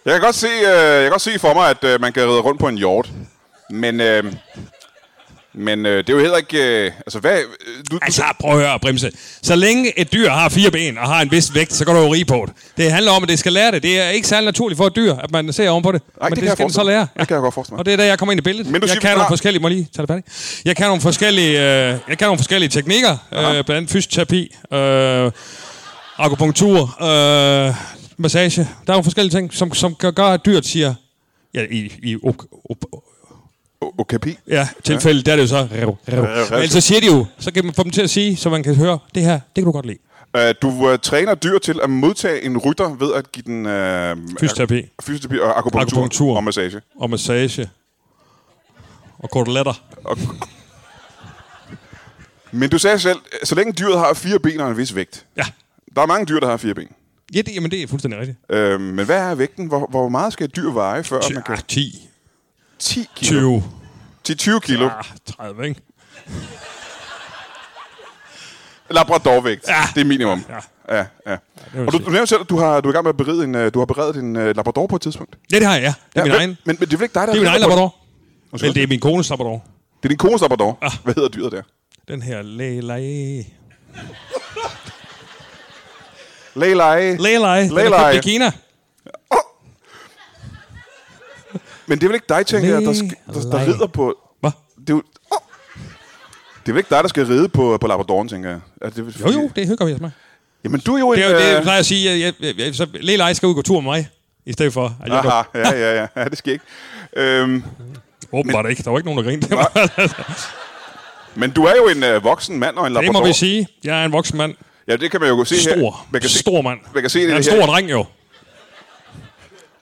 Speaker 1: Jeg kan godt se, øh, jeg kan godt se for mig, at øh, man kan ride rundt på en hjort. Men, øh, men øh, det er jo heller ikke... Øh, altså, hvad... Øh, du,
Speaker 10: Altså, prøv at høre, Bremse. Så længe et dyr har fire ben og har en vis vægt, så går du jo rige på det. Det handler om, at det skal lære det. Det er ikke særlig naturligt for et dyr, at man ser ovenpå det.
Speaker 1: Nej, det
Speaker 10: Men
Speaker 1: kan
Speaker 10: det,
Speaker 1: jeg
Speaker 10: skal den så
Speaker 1: forestille mig.
Speaker 10: lære.
Speaker 1: Det kan jeg godt forestille mig.
Speaker 10: Og det er der, jeg kommer ind i billedet.
Speaker 1: Men du
Speaker 10: jeg
Speaker 1: siger,
Speaker 10: kan
Speaker 1: vi
Speaker 10: nogle
Speaker 1: har-
Speaker 10: forskellige... Må jeg lige tage det færdigt. Jeg kan nogle forskellige, øh, jeg kan nogle forskellige teknikker. Øh, blandt andet fysioterapi, øh, akupunktur, øh, massage. Der er nogle forskellige ting, som, som gør, gør, at dyret siger... Ja, i, i op, op,
Speaker 1: o- okapi?
Speaker 10: Ja, tilfælde, ja. der er det jo så... Rev, rev.
Speaker 1: rev.
Speaker 10: Men så siger de jo, så kan man få dem til at sige, så man kan høre, det her, det kan du godt lide.
Speaker 1: Øh, du øh, træner dyr til at modtage en rytter ved at give den... Øh,
Speaker 10: Fysioterapi
Speaker 1: ak- fysioterapi og akupunktur,
Speaker 10: Akupunktur.
Speaker 1: og massage.
Speaker 10: og massage og koteletter.
Speaker 1: Men du sagde selv, øh, så længe dyret har fire ben og en vis vægt.
Speaker 10: Ja,
Speaker 1: Der er mange dyr, der har fire ben.
Speaker 10: ja det, jamen, det er fuldstændig rigtigt.
Speaker 1: Øh, men hvad er vægten? Hvor, hvor meget skal et dyr veje, før man
Speaker 10: Ja,
Speaker 1: kan...
Speaker 10: 10,
Speaker 1: 10 kilo.
Speaker 10: 20,
Speaker 1: 10-20 kilo.
Speaker 10: ah, 30, ikke?
Speaker 1: Labradorvægt.
Speaker 10: Ja.
Speaker 1: Det er minimum. Ja. ja, ja.
Speaker 10: vil
Speaker 1: Og du,
Speaker 10: sige.
Speaker 1: du nævnte selv, at du har, du er i gang med at berede en, øh, du har beredet en uh, Labrador på et tidspunkt.
Speaker 10: Ja, det har jeg, ja. Det er ja, min
Speaker 1: hvad-
Speaker 10: egen.
Speaker 1: Men, men det er vel ikke dig, der
Speaker 10: Det er min
Speaker 1: har
Speaker 10: egen
Speaker 1: lavet
Speaker 10: labrador.
Speaker 1: Undskyld.
Speaker 10: Eller det er min kones labrador.
Speaker 1: Det er din kones Labrador. Hvad hedder dyret der?
Speaker 10: Den her lelej.
Speaker 1: Lelej.
Speaker 10: Lelej. Den er
Speaker 1: Lelej.
Speaker 10: købt i Kina.
Speaker 1: Men det er vel ikke dig, tænker jeg, der, sk- der, der
Speaker 10: Lelej.
Speaker 1: rider på...
Speaker 10: Hvad?
Speaker 1: Det er, jo, oh. det er vel ikke dig, der skal ride på, på Labradoren, tænker jeg. Er det,
Speaker 10: Jo, jo, det hygger vi os med.
Speaker 1: Jamen, du er jo en...
Speaker 10: Det er jo det, jeg
Speaker 1: øh,
Speaker 10: plejer at sige. Jeg, jeg, jeg, så lelej skal ud og gå tur med mig. I stedet for, at jeg
Speaker 1: Aha, ja, ja, ja, ja, det skal ikke. Øhm,
Speaker 10: Åbenbart ikke. Der var ikke nogen, der grinte. Det, var,
Speaker 1: men du er jo en øh, voksen mand og en
Speaker 10: det
Speaker 1: labrador.
Speaker 10: må vi sige. Jeg er en voksen mand.
Speaker 1: Ja, det kan man jo se her.
Speaker 10: Stor.
Speaker 1: Man kan se,
Speaker 10: Stor mand.
Speaker 1: man kan se det
Speaker 10: jeg er en
Speaker 1: her.
Speaker 10: stor dreng jo.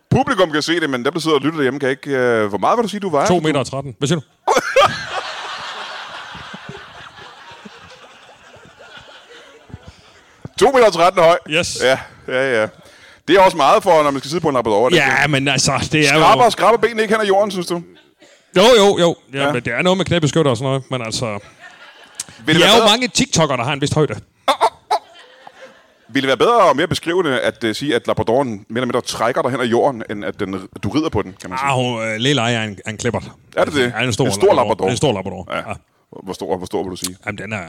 Speaker 1: Publikum kan se det, men dem, der sidder og lytter derhjemme, kan ikke... Øh, hvor meget vil du sige, du vejer?
Speaker 10: 2 meter og 13. Hvad siger du?
Speaker 1: To meter og 13 høj.
Speaker 10: Yes.
Speaker 1: Ja, ja, ja. Det er også meget for, når man skal sidde på en labrador. det
Speaker 10: Ja, men altså, det er
Speaker 1: Skraber,
Speaker 10: jo...
Speaker 1: skraber benene ikke hen ad jorden, synes du?
Speaker 10: Jo, jo, jo. Ja,
Speaker 1: Ja.
Speaker 10: ja. Men det er noget med knæbeskytter og sådan noget. Men altså,
Speaker 1: Vil
Speaker 10: der
Speaker 1: være
Speaker 10: er jo
Speaker 1: bedre,
Speaker 10: mange TikTok'ere, der har en vist højde.
Speaker 1: Vil det være bedre og mere beskrivende at uh, sige, at labradoren mere eller mindre trækker dig hen ad jorden, end at, den, at du rider på den, kan man sige?
Speaker 10: Ah, hun, øh, Lille Ejer er en, er en klippert.
Speaker 1: Er det det?
Speaker 10: Ja, en stor,
Speaker 1: En stor labrador.
Speaker 10: Det er En stor labrador. Ja. ja.
Speaker 1: Hvor stor, hvor stor vil du sige?
Speaker 10: Jamen, den er...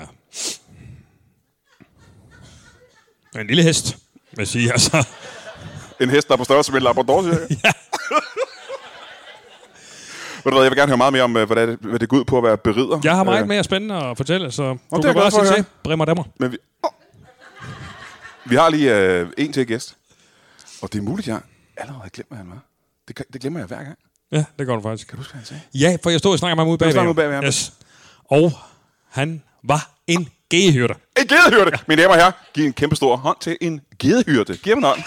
Speaker 10: er En lille hest, vil jeg sige. Altså.
Speaker 1: En hest, der er på størrelse med en labrador, siger jeg. Ved du hvad, jeg vil gerne høre meget mere om, øh, hvad det, hvad det går ud på at være berider. Øh,
Speaker 10: Jeg har meget mere spændende at fortælle, så du
Speaker 1: jeg
Speaker 10: kan
Speaker 1: glad
Speaker 10: bare
Speaker 1: for at høre.
Speaker 10: sige til. Brimmer dammer.
Speaker 1: Men vi, oh. vi har lige øh, en til gæst. Og det er muligt, jeg allerede glemmer, han var. Det, kan- det glemmer jeg hver gang.
Speaker 10: Ja, det gør du faktisk.
Speaker 1: Kan du huske, hvad han sagde?
Speaker 10: Ja, for jeg stod og snakkede med ham ude bagved.
Speaker 1: snakkede ude bagved ham.
Speaker 10: Yes. Og han var en gehyrte.
Speaker 1: En gedehyrde! Ja. Mine damer og herrer, giv en kæmpe stor hånd til en gedehyrde. Giv ham en hånd.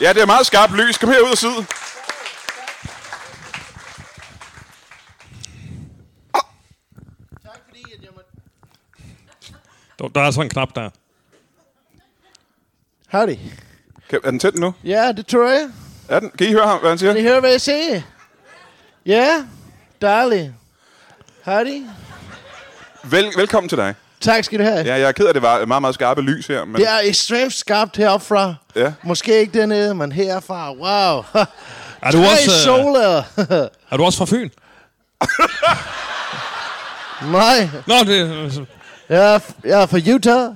Speaker 1: Ja, det er meget skarpt lys. Kom herud og sid.
Speaker 10: Der, der er sådan en knap der.
Speaker 11: Howdy.
Speaker 1: Kan, er den tændt nu?
Speaker 11: Ja, det tror jeg.
Speaker 1: Er den? Kan I høre ham, hvad han siger?
Speaker 11: Kan I høre, hvad jeg siger? Ja, dejligt. Howdy.
Speaker 1: Vel, velkommen til dig.
Speaker 11: Tak skal du have.
Speaker 1: Ja, jeg er ked af, at det var meget, meget skarpe lys her. Men,
Speaker 11: Det er ekstremt skarpt heropfra.
Speaker 1: Ja.
Speaker 11: Måske ikke dernede, men herfra. Wow.
Speaker 10: Er du, også,
Speaker 11: Tre
Speaker 10: øh,
Speaker 11: soler.
Speaker 10: er du også fra Fyn?
Speaker 11: Nej,
Speaker 10: Nå, det, øh,
Speaker 11: jeg er, f- jeg er fra Utah.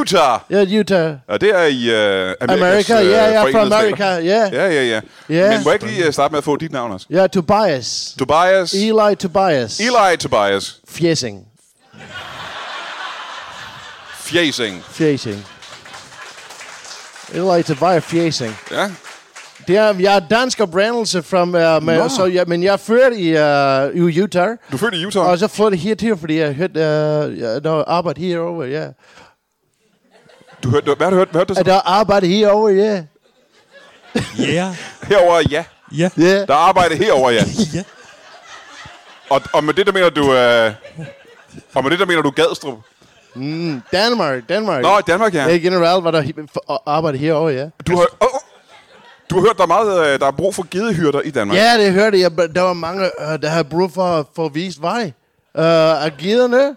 Speaker 1: Utah!
Speaker 11: Jeg er Utah.
Speaker 1: Og det er i øh, Amerikas,
Speaker 11: America,
Speaker 1: øh,
Speaker 11: ja, jeg er fra
Speaker 1: Forenede Stater.
Speaker 11: America, ja.
Speaker 1: Ja, ja, ja.
Speaker 11: Ja.
Speaker 1: Men må jeg ikke lige øh, starte med at få dit navn også?
Speaker 11: Jeg er Tobias.
Speaker 1: Tobias.
Speaker 11: Eli Tobias.
Speaker 1: Eli Tobias.
Speaker 11: Fjesing.
Speaker 1: Fjæsing.
Speaker 11: Fjesing. Eli Tobias Fjesing.
Speaker 1: Ja.
Speaker 11: Det er, jeg er dansk oprindelse, fra, uh,
Speaker 1: Nå.
Speaker 11: med, så, ja, men jeg er født i, uh, i Utah.
Speaker 1: Du er født i Utah.
Speaker 11: Og så flyttede hertil, fordi jeg hørte uh, jeg, der var arbejde herovre, ja.
Speaker 1: Du hørte, hvad har du hørt? Hvad hørte du
Speaker 11: At
Speaker 1: så?
Speaker 11: der er arbejde herovre, ja.
Speaker 10: yeah,
Speaker 1: Herover, ja.
Speaker 10: ja,
Speaker 11: Ja.
Speaker 1: Der er arbejde herover, ja.
Speaker 10: ja.
Speaker 1: Og, og med det, der mener du... Øh, og med det, der mener du Gadstrup.
Speaker 11: Mm, Danmark, Danmark.
Speaker 1: Nå, i Danmark, ja.
Speaker 11: Ja, generelt var der he- for- og arbejde herovre, ja.
Speaker 1: Du har,
Speaker 10: Altså-
Speaker 1: oh, oh. du har hørt, der er, meget, øh, der er brug for gedehyrder i Danmark.
Speaker 11: Ja, det hørte jeg. men Der var mange, øh, der havde brug for, for at vise vej øh, af giderne.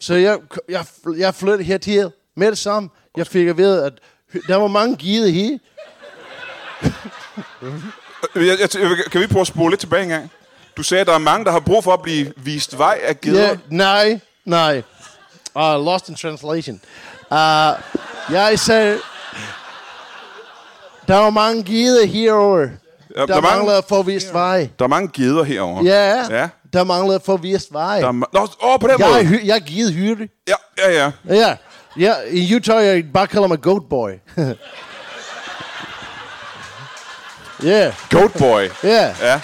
Speaker 11: Så jeg, jeg, jeg flyttede hertil med det samme. Jeg fik at vide, at der var mange gider her.
Speaker 1: Øh, Jeg, jeg, jeg, kan vi prøve at spole lidt tilbage engang? Du sagde, at der er mange, der har brug for at blive vist vej af geder.
Speaker 11: Ja, nej, nej. Uh, lost in translation. Uh, jeg sagde, der var mange gider herovre.
Speaker 1: der
Speaker 11: Der,
Speaker 1: er
Speaker 11: der
Speaker 1: mange-
Speaker 11: mangler forvist vej.
Speaker 1: Der er mange geder herover.
Speaker 11: Ja,
Speaker 1: ja.
Speaker 11: der mangler forvist vej.
Speaker 1: Der er ma- Nå, åh, på den
Speaker 11: Jeg,
Speaker 1: måde.
Speaker 11: er hy- jeg er givet hyrde.
Speaker 1: Ja, ja, ja.
Speaker 11: Ja, ja. I Utah, jeg bare kalder mig Goat Boy. Ja,
Speaker 1: Goat boy.
Speaker 11: ja.
Speaker 1: Ja.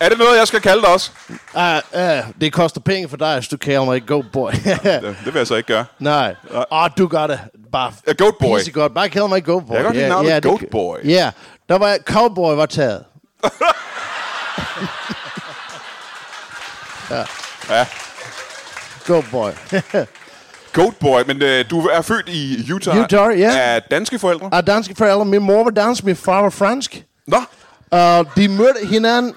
Speaker 1: Er det noget, jeg skal kalde dig også?
Speaker 11: Ah, ah, Det koster penge for dig, hvis du kalder mig Goat Boy.
Speaker 1: Ja, det vil jeg så ikke gøre.
Speaker 11: Nej. Åh, oh, du gør det bare
Speaker 1: Ja, Uh, Goat Boy.
Speaker 11: pisse godt. Bare kald mig Goat Boy.
Speaker 1: Jeg kan godt lide
Speaker 11: Ja,
Speaker 1: navnet
Speaker 11: ja, det-
Speaker 1: Goat Boy.
Speaker 11: Ja, der var Cowboy var taget.
Speaker 1: Ja.
Speaker 11: Goat Boy.
Speaker 1: Goat boy, men øh, du er født i Utah.
Speaker 11: Utah, ja.
Speaker 1: Af danske forældre.
Speaker 11: Og danske forældre. Min mor var dansk, min far var fransk.
Speaker 1: Nå,
Speaker 11: Og de mødte hinanden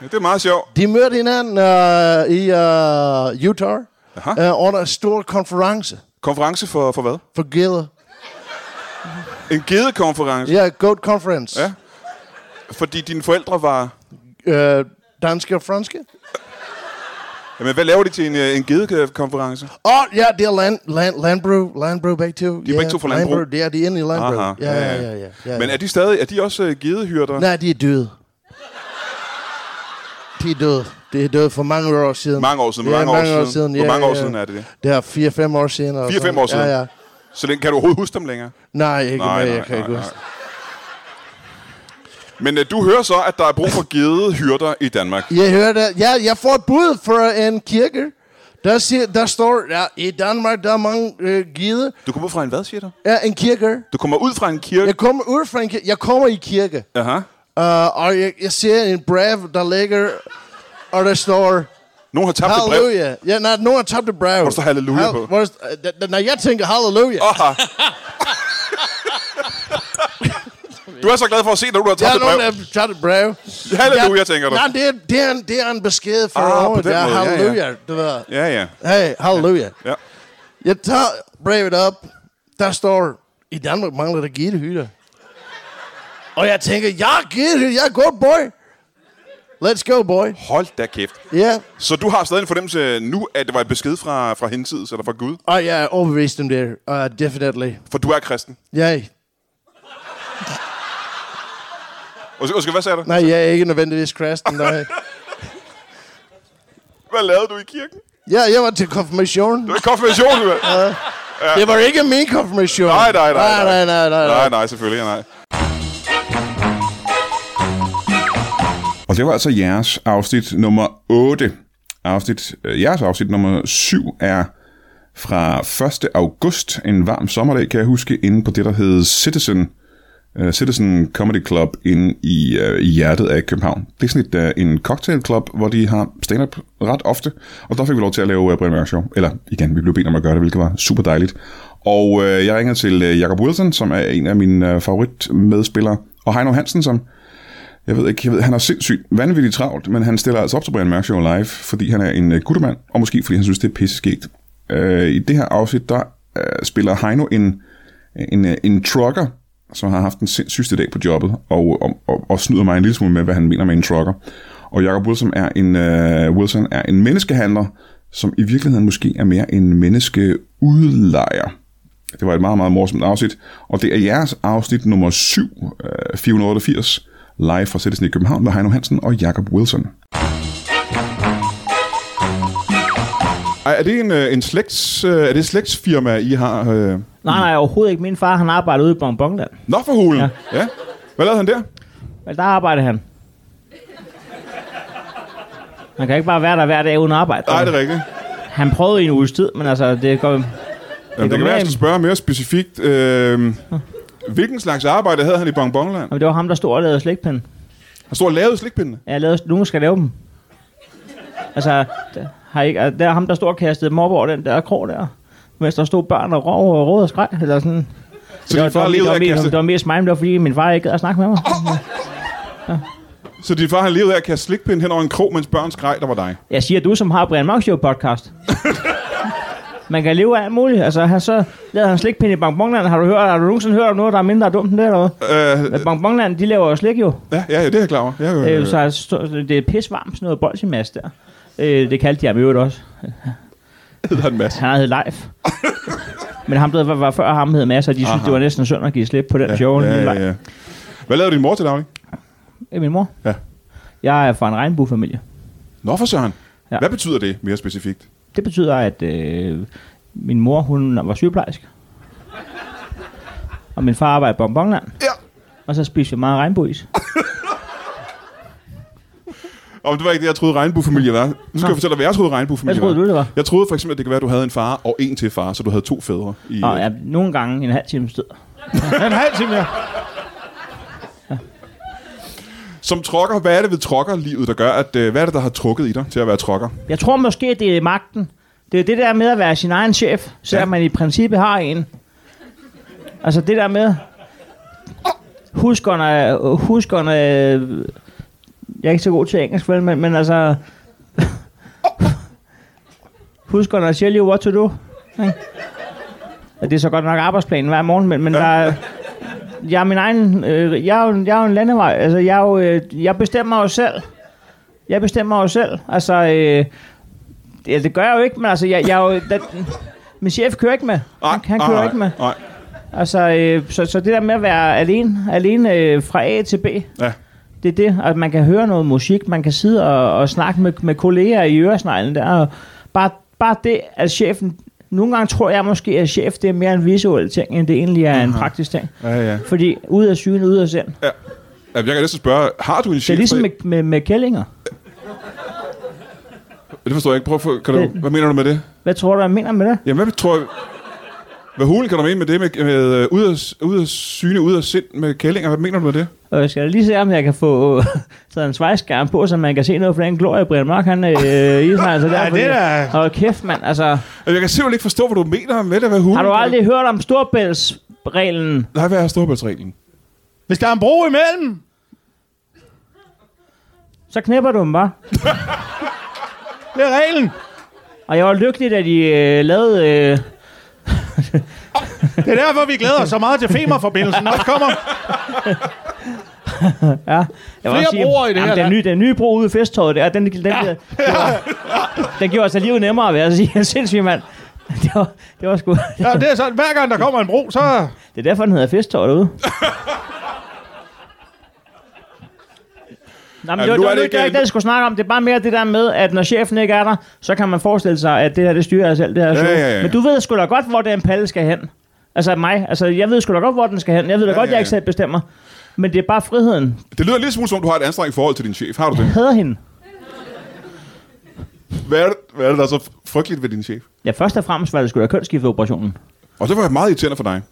Speaker 1: ja, det er meget sjovt.
Speaker 11: De mødte hinanden øh, i øh, Utah
Speaker 1: Aha.
Speaker 11: øh, under en stor konference
Speaker 1: Konference for, for hvad?
Speaker 11: for geder.
Speaker 1: En gedekonference.
Speaker 11: Ja, yeah, Goat Conference.
Speaker 1: Ja. Fordi dine forældre var...
Speaker 11: Øh, danske og franske.
Speaker 1: Jamen, hvad laver de til en, øh, en gedekonference?
Speaker 11: Og ja, det er land, land, landbrug, landbrug begge to. De
Speaker 1: begge to fra landbrug?
Speaker 11: Ja, de er inde i landbrug.
Speaker 1: Aha, ja,
Speaker 11: Ja, ja,
Speaker 1: ja.
Speaker 11: ja, ja, ja.
Speaker 1: Men er de stadig... Er de også øh, gedehyrder?
Speaker 11: Nej, de er døde. De er døde. De er døde for mange år siden.
Speaker 1: Mange år siden, hvor
Speaker 11: Ja,
Speaker 1: mange år
Speaker 11: mange år
Speaker 1: siden?
Speaker 11: siden.
Speaker 1: Hvor
Speaker 11: ja,
Speaker 1: mange år
Speaker 11: ja.
Speaker 1: siden er det det?
Speaker 11: Det er 4-5 år siden. eller
Speaker 1: 4-5
Speaker 11: sådan.
Speaker 1: år siden?
Speaker 11: altså, Ja, ja.
Speaker 1: Så den, kan du overhovedet huske dem længere?
Speaker 11: Nej, ikke
Speaker 1: Nej,
Speaker 11: nej, mere.
Speaker 1: nej,
Speaker 11: Jeg kan
Speaker 1: nej,
Speaker 11: ikke
Speaker 1: nej.
Speaker 11: huske.
Speaker 1: Men øh, du hører så, at der er brug for gedehyrder i Danmark.
Speaker 11: Jeg hørte, ja, jeg får et bud fra en kirke. Der, siger, der står, ja, i Danmark, der er mange øh, gider.
Speaker 1: Du kommer ud fra en hvad, siger du?
Speaker 11: Ja, en kirke.
Speaker 1: Du kommer ud fra en kirke.
Speaker 11: Jeg kommer ud fra en kirke. Jeg kommer i kirke.
Speaker 1: Aha.
Speaker 11: Uh, og jeg, jeg ser en brev, der ligger, og der står,
Speaker 1: Nogen har tabt et brev.
Speaker 11: halleluja. Ja, nej, nogen har tabt et brev. Hvor
Speaker 1: der står halleluja på?
Speaker 11: Hvor, der- øh, da- da- når jeg tænker halleluja.
Speaker 1: Aha. du er så glad for at se, når du har
Speaker 11: Der
Speaker 1: tabt
Speaker 11: er
Speaker 1: et brev.
Speaker 11: nogen, der har tabt et brev.
Speaker 1: Halleluja, tænker du.
Speaker 11: Nej, det er, det, er en, det er en besked for
Speaker 1: Ah,
Speaker 11: ah,
Speaker 1: på
Speaker 11: året.
Speaker 1: den
Speaker 11: Det er
Speaker 1: måde, ja, ja.
Speaker 11: halleluja. Ja, ja.
Speaker 1: Ja, ja.
Speaker 11: Hey, halleluja.
Speaker 1: Ja.
Speaker 11: Jeg tager brevet op. Der står, i Danmark mangler der gittehytter. Og jeg tænker, jeg er gittehytter, jeg er god boy. Let's go, boy.
Speaker 1: Hold da kæft.
Speaker 11: Ja, yeah.
Speaker 1: Så du har stadig en fornemmelse nu, at det var et besked fra, fra hensides eller fra Gud?
Speaker 11: og jeg er overbevist om det. Uh, definitely.
Speaker 1: For du er kristen.
Speaker 11: Yay.
Speaker 1: Undskyld, undskyld, hvad sagde du?
Speaker 11: Nej, jeg er ikke nødvendigvis kristen. Nej.
Speaker 1: Hvad lavede du i kirken?
Speaker 11: Ja, jeg var til konfirmation.
Speaker 1: Det var konfirmation, du ja.
Speaker 11: Det var ikke min konfirmation.
Speaker 1: Nej, nej, nej.
Speaker 11: Nej, nej, nej, nej.
Speaker 1: Nej, nej, selvfølgelig, nej. Og det var altså jeres afsnit nummer 8. Afsnit, øh, jeres afsnit nummer 7 er fra 1. august, en varm sommerdag, kan jeg huske, inde på det, der hed Citizen, øh, Citizen Comedy Club inde i, øh, i hjertet af København. Det er sådan et, øh, en cocktailclub, hvor de har stand-up ret ofte, og der fik vi lov til at lave øh, Brian Mørk Show. Eller igen, vi blev bedt om at gøre det, hvilket var super dejligt. Og øh, jeg ringer til øh, Jacob Wilson, som er en af mine øh, favoritmedspillere, og Heino Hansen, som jeg ved ikke, jeg ved, han har sindssygt vanvittigt travlt, men han stiller altså op til Brian Mørk Show live, fordi han er en uh, guttermand, og måske fordi han synes, det er pisseskægt. Uh, I det her afsnit, der uh, spiller Heino en, en, uh, en trucker, som har haft den sindssygste dag på jobbet, og, og, og, og snyder mig en lille smule med, hvad han mener med en trucker. Og Jacob Wilson er en, uh, Wilson er en menneskehandler, som i virkeligheden måske er mere en menneskeudlejer. Det var et meget, meget morsomt afsnit, og det er jeres afsnit nummer 7, øh, 488, live fra Citizen i København med Heino Hansen og Jakob Wilson. Ej, er det en, øh, en slægts, øh, er det et slægtsfirma, I har? Øh?
Speaker 12: Nej, nej, overhovedet ikke. Min far, han arbejdede ude i Bonbonland.
Speaker 1: Nå for hulen! Ja. ja. Hvad lavede han der?
Speaker 12: Men der arbejdede han. Man kan ikke bare være der hver dag uden arbejde.
Speaker 1: Nej, det er rigtigt.
Speaker 12: Han prøvede i en uges tid, men altså, det går... Det,
Speaker 1: Jamen, det kan være, at jeg skal spørge mere specifikt. Øh, hvilken slags arbejde havde han i Bonbonland?
Speaker 12: Jamen, det var ham, der stod og lavede slikpinden.
Speaker 1: Han stod og lavede slikpindene.
Speaker 12: Jeg lavede, nogen skal lave dem. Altså, der, har ikke, altså, der er ham, der stod og kastede dem op over den der krog der. Mens der stod børn og rov og råd og skreg, eller sådan.
Speaker 1: Så
Speaker 12: det, var,
Speaker 1: din
Speaker 12: det,
Speaker 1: far
Speaker 12: var, det,
Speaker 1: levede
Speaker 12: var,
Speaker 1: af at
Speaker 12: mest- det
Speaker 1: kaste,
Speaker 12: var mest mig, men det var fordi min far ikke gad at snakke med mig.
Speaker 1: så din far han levede af at kaste slikpind hen over en krog, mens børn skreg, der var dig.
Speaker 12: Jeg siger, du som har Brian Mørk Show podcast. Man kan leve af alt muligt. Altså, han så lavede han slikpinde i Bonbonland. Har du hørt, har du nogensinde hørt om noget, der er mindre dumt end det, eller hvad?
Speaker 1: Øh,
Speaker 12: Øh, Bonbonland, de laver jo slik jo.
Speaker 1: ja, ja, det er jeg klar over. Jeg,
Speaker 12: Øh, så altså, stå- det er pisvarmt, sådan noget bolsjemas der. Øh, det kaldte de ham i øvrigt også.
Speaker 1: hedder han Mads.
Speaker 12: Han havde live. Men ham der var, var før ham hed Mads, og de synes, det var næsten synd at give slip på den ja, show.
Speaker 1: Ja, ja, ja. Hvad lavede din mor til daglig?
Speaker 12: ja. Min mor.
Speaker 1: Ja.
Speaker 12: Jeg er fra en regnbuefamilie.
Speaker 1: Nå for søren. Ja.
Speaker 12: Ja.
Speaker 1: Hvad betyder det mere specifikt?
Speaker 12: Det betyder, at øh, min mor hun var sygeplejerske. Og min far arbejder i Bonbonland.
Speaker 1: Ja.
Speaker 12: Og så spiser vi meget regnbueis.
Speaker 1: Om det var ikke det, jeg troede regnbuefamilie var. Nu skal
Speaker 12: Nå.
Speaker 1: jeg fortælle dig, hvad jeg troede regnbuefamilie
Speaker 12: Hvad troede
Speaker 1: var.
Speaker 12: du, det var?
Speaker 1: Jeg troede for eksempel, at det kan være, at du havde en far og en til far, så du havde to fædre. I, øh,
Speaker 12: Nå, ja, nogle gange en halv time sted. en halv time, ja.
Speaker 1: Som trokker, hvad er det ved trokkerlivet, der gør, at øh, hvad er det, der har trukket i dig til at være trokker?
Speaker 12: Jeg tror måske, det er magten. Det er det der med at være sin egen chef, selvom
Speaker 1: Ja.
Speaker 12: ja. man i princippet har en. Altså det der med... Huskerne... Huskerne... Jeg er ikke så god til engelsk, vel, men, men altså... Huskerne tell you what to do. ikke? Og det er så godt nok arbejdsplanen hver morgen, men, men der er, jeg er min egen... Øh, jeg, er jo, jeg er jo en landevej. Altså, jeg, er jo, øh, jeg bestemmer jo selv. Jeg bestemmer jo selv. Altså, øh, ja, det gør jeg jo ikke, men altså, jeg, jeg er jo... Da, min chef kører ikke med. Han, han kører ikke med.
Speaker 1: Nej,
Speaker 12: Altså, øh, så, så det der med at være alene, alene øh, fra A til B,
Speaker 1: ja.
Speaker 12: det er det, at man kan høre noget musik, man kan sidde og, og snakke med, med kolleger i øresneglen der, og bare, bare det, at chefen... Nogle gange tror jeg måske, at chef det er mere en visuel ting, end det egentlig er en praktisk ting.
Speaker 1: Ja, ja.
Speaker 12: Fordi ud af syne, ud af sind.
Speaker 1: Ja, Jeg kan næsten spørge, har du en chef?
Speaker 12: Det er ligesom
Speaker 1: for-
Speaker 12: med, med, med kællinger.
Speaker 1: Det forstår jeg ikke. Prøv at få, kan du,
Speaker 12: Det-
Speaker 1: hvad mener du med det?
Speaker 12: Hvad tror du, jeg mener med det?
Speaker 1: Jamen, hvad tror jeg... Hvad hulen kan du mene med det med, med øh, ud, af, ud af syne, ud af sind med kællinger? Hvad mener du med det?
Speaker 12: Og jeg skal lige se, om jeg kan få taget en svejskærm på, så man kan se noget for den glorie, Brian Mørk, han øh, i sig altså der.
Speaker 13: Ja, det er da-
Speaker 12: Hold kæft, mand. Altså,
Speaker 1: Jeg kan simpelthen ikke forstå, hvad du mener med det. Hvad hulen
Speaker 12: har du
Speaker 1: kan
Speaker 12: aldrig hørt om storbæltsreglen?
Speaker 1: Nej, hvad er storbæltsreglen?
Speaker 13: Hvis der er en bro imellem,
Speaker 12: Så knæpper du dem bare.
Speaker 13: det er reglen.
Speaker 12: Og jeg var lykkelig, da de øh, lavede... Øh,
Speaker 13: Det er derfor, vi glæder os så meget til Femmerforbindelsen. Når der kommer
Speaker 12: jeg
Speaker 13: Flere broer i det her
Speaker 12: jamen, den,
Speaker 13: land.
Speaker 12: nye, den nye bro ude i festtøjet der, den, den, den, den, den gjorde altså livet nemmere, vil jeg sige. Jeg er sindssyg, mand. Det var, det var sgu...
Speaker 13: Ja, det er sådan, hver gang der kommer en bro, så...
Speaker 12: Det er derfor, den hedder festtøjet derude. Nej, men det, var, det, var, det, var ikke det, jeg skulle snakke om. Det er bare mere det der med, at når chefen ikke er der, så kan man forestille sig, at det her, det styrer jeg selv, det her show.
Speaker 1: ja, ja, ja.
Speaker 12: Men du ved sgu da godt, hvor den palle skal hen. Altså mig. Altså, jeg ved sgu da godt, hvor den skal hen. Jeg ved da
Speaker 1: Ja,
Speaker 12: godt,
Speaker 1: ja,
Speaker 12: jeg ikke
Speaker 1: ja.
Speaker 12: selv bestemmer. Men det er bare friheden.
Speaker 1: Det lyder lidt smule som om, du har et anstrengt forhold til din chef. Har du
Speaker 12: Jeg
Speaker 1: det?
Speaker 12: hader hende.
Speaker 1: Hvad er det, hvad er det der er så Altså, frygteligt ved din chef?
Speaker 12: Ja, først og fremmest var det sgu da kønsskifteoperationen.
Speaker 1: Og det var meget irriterende for dig.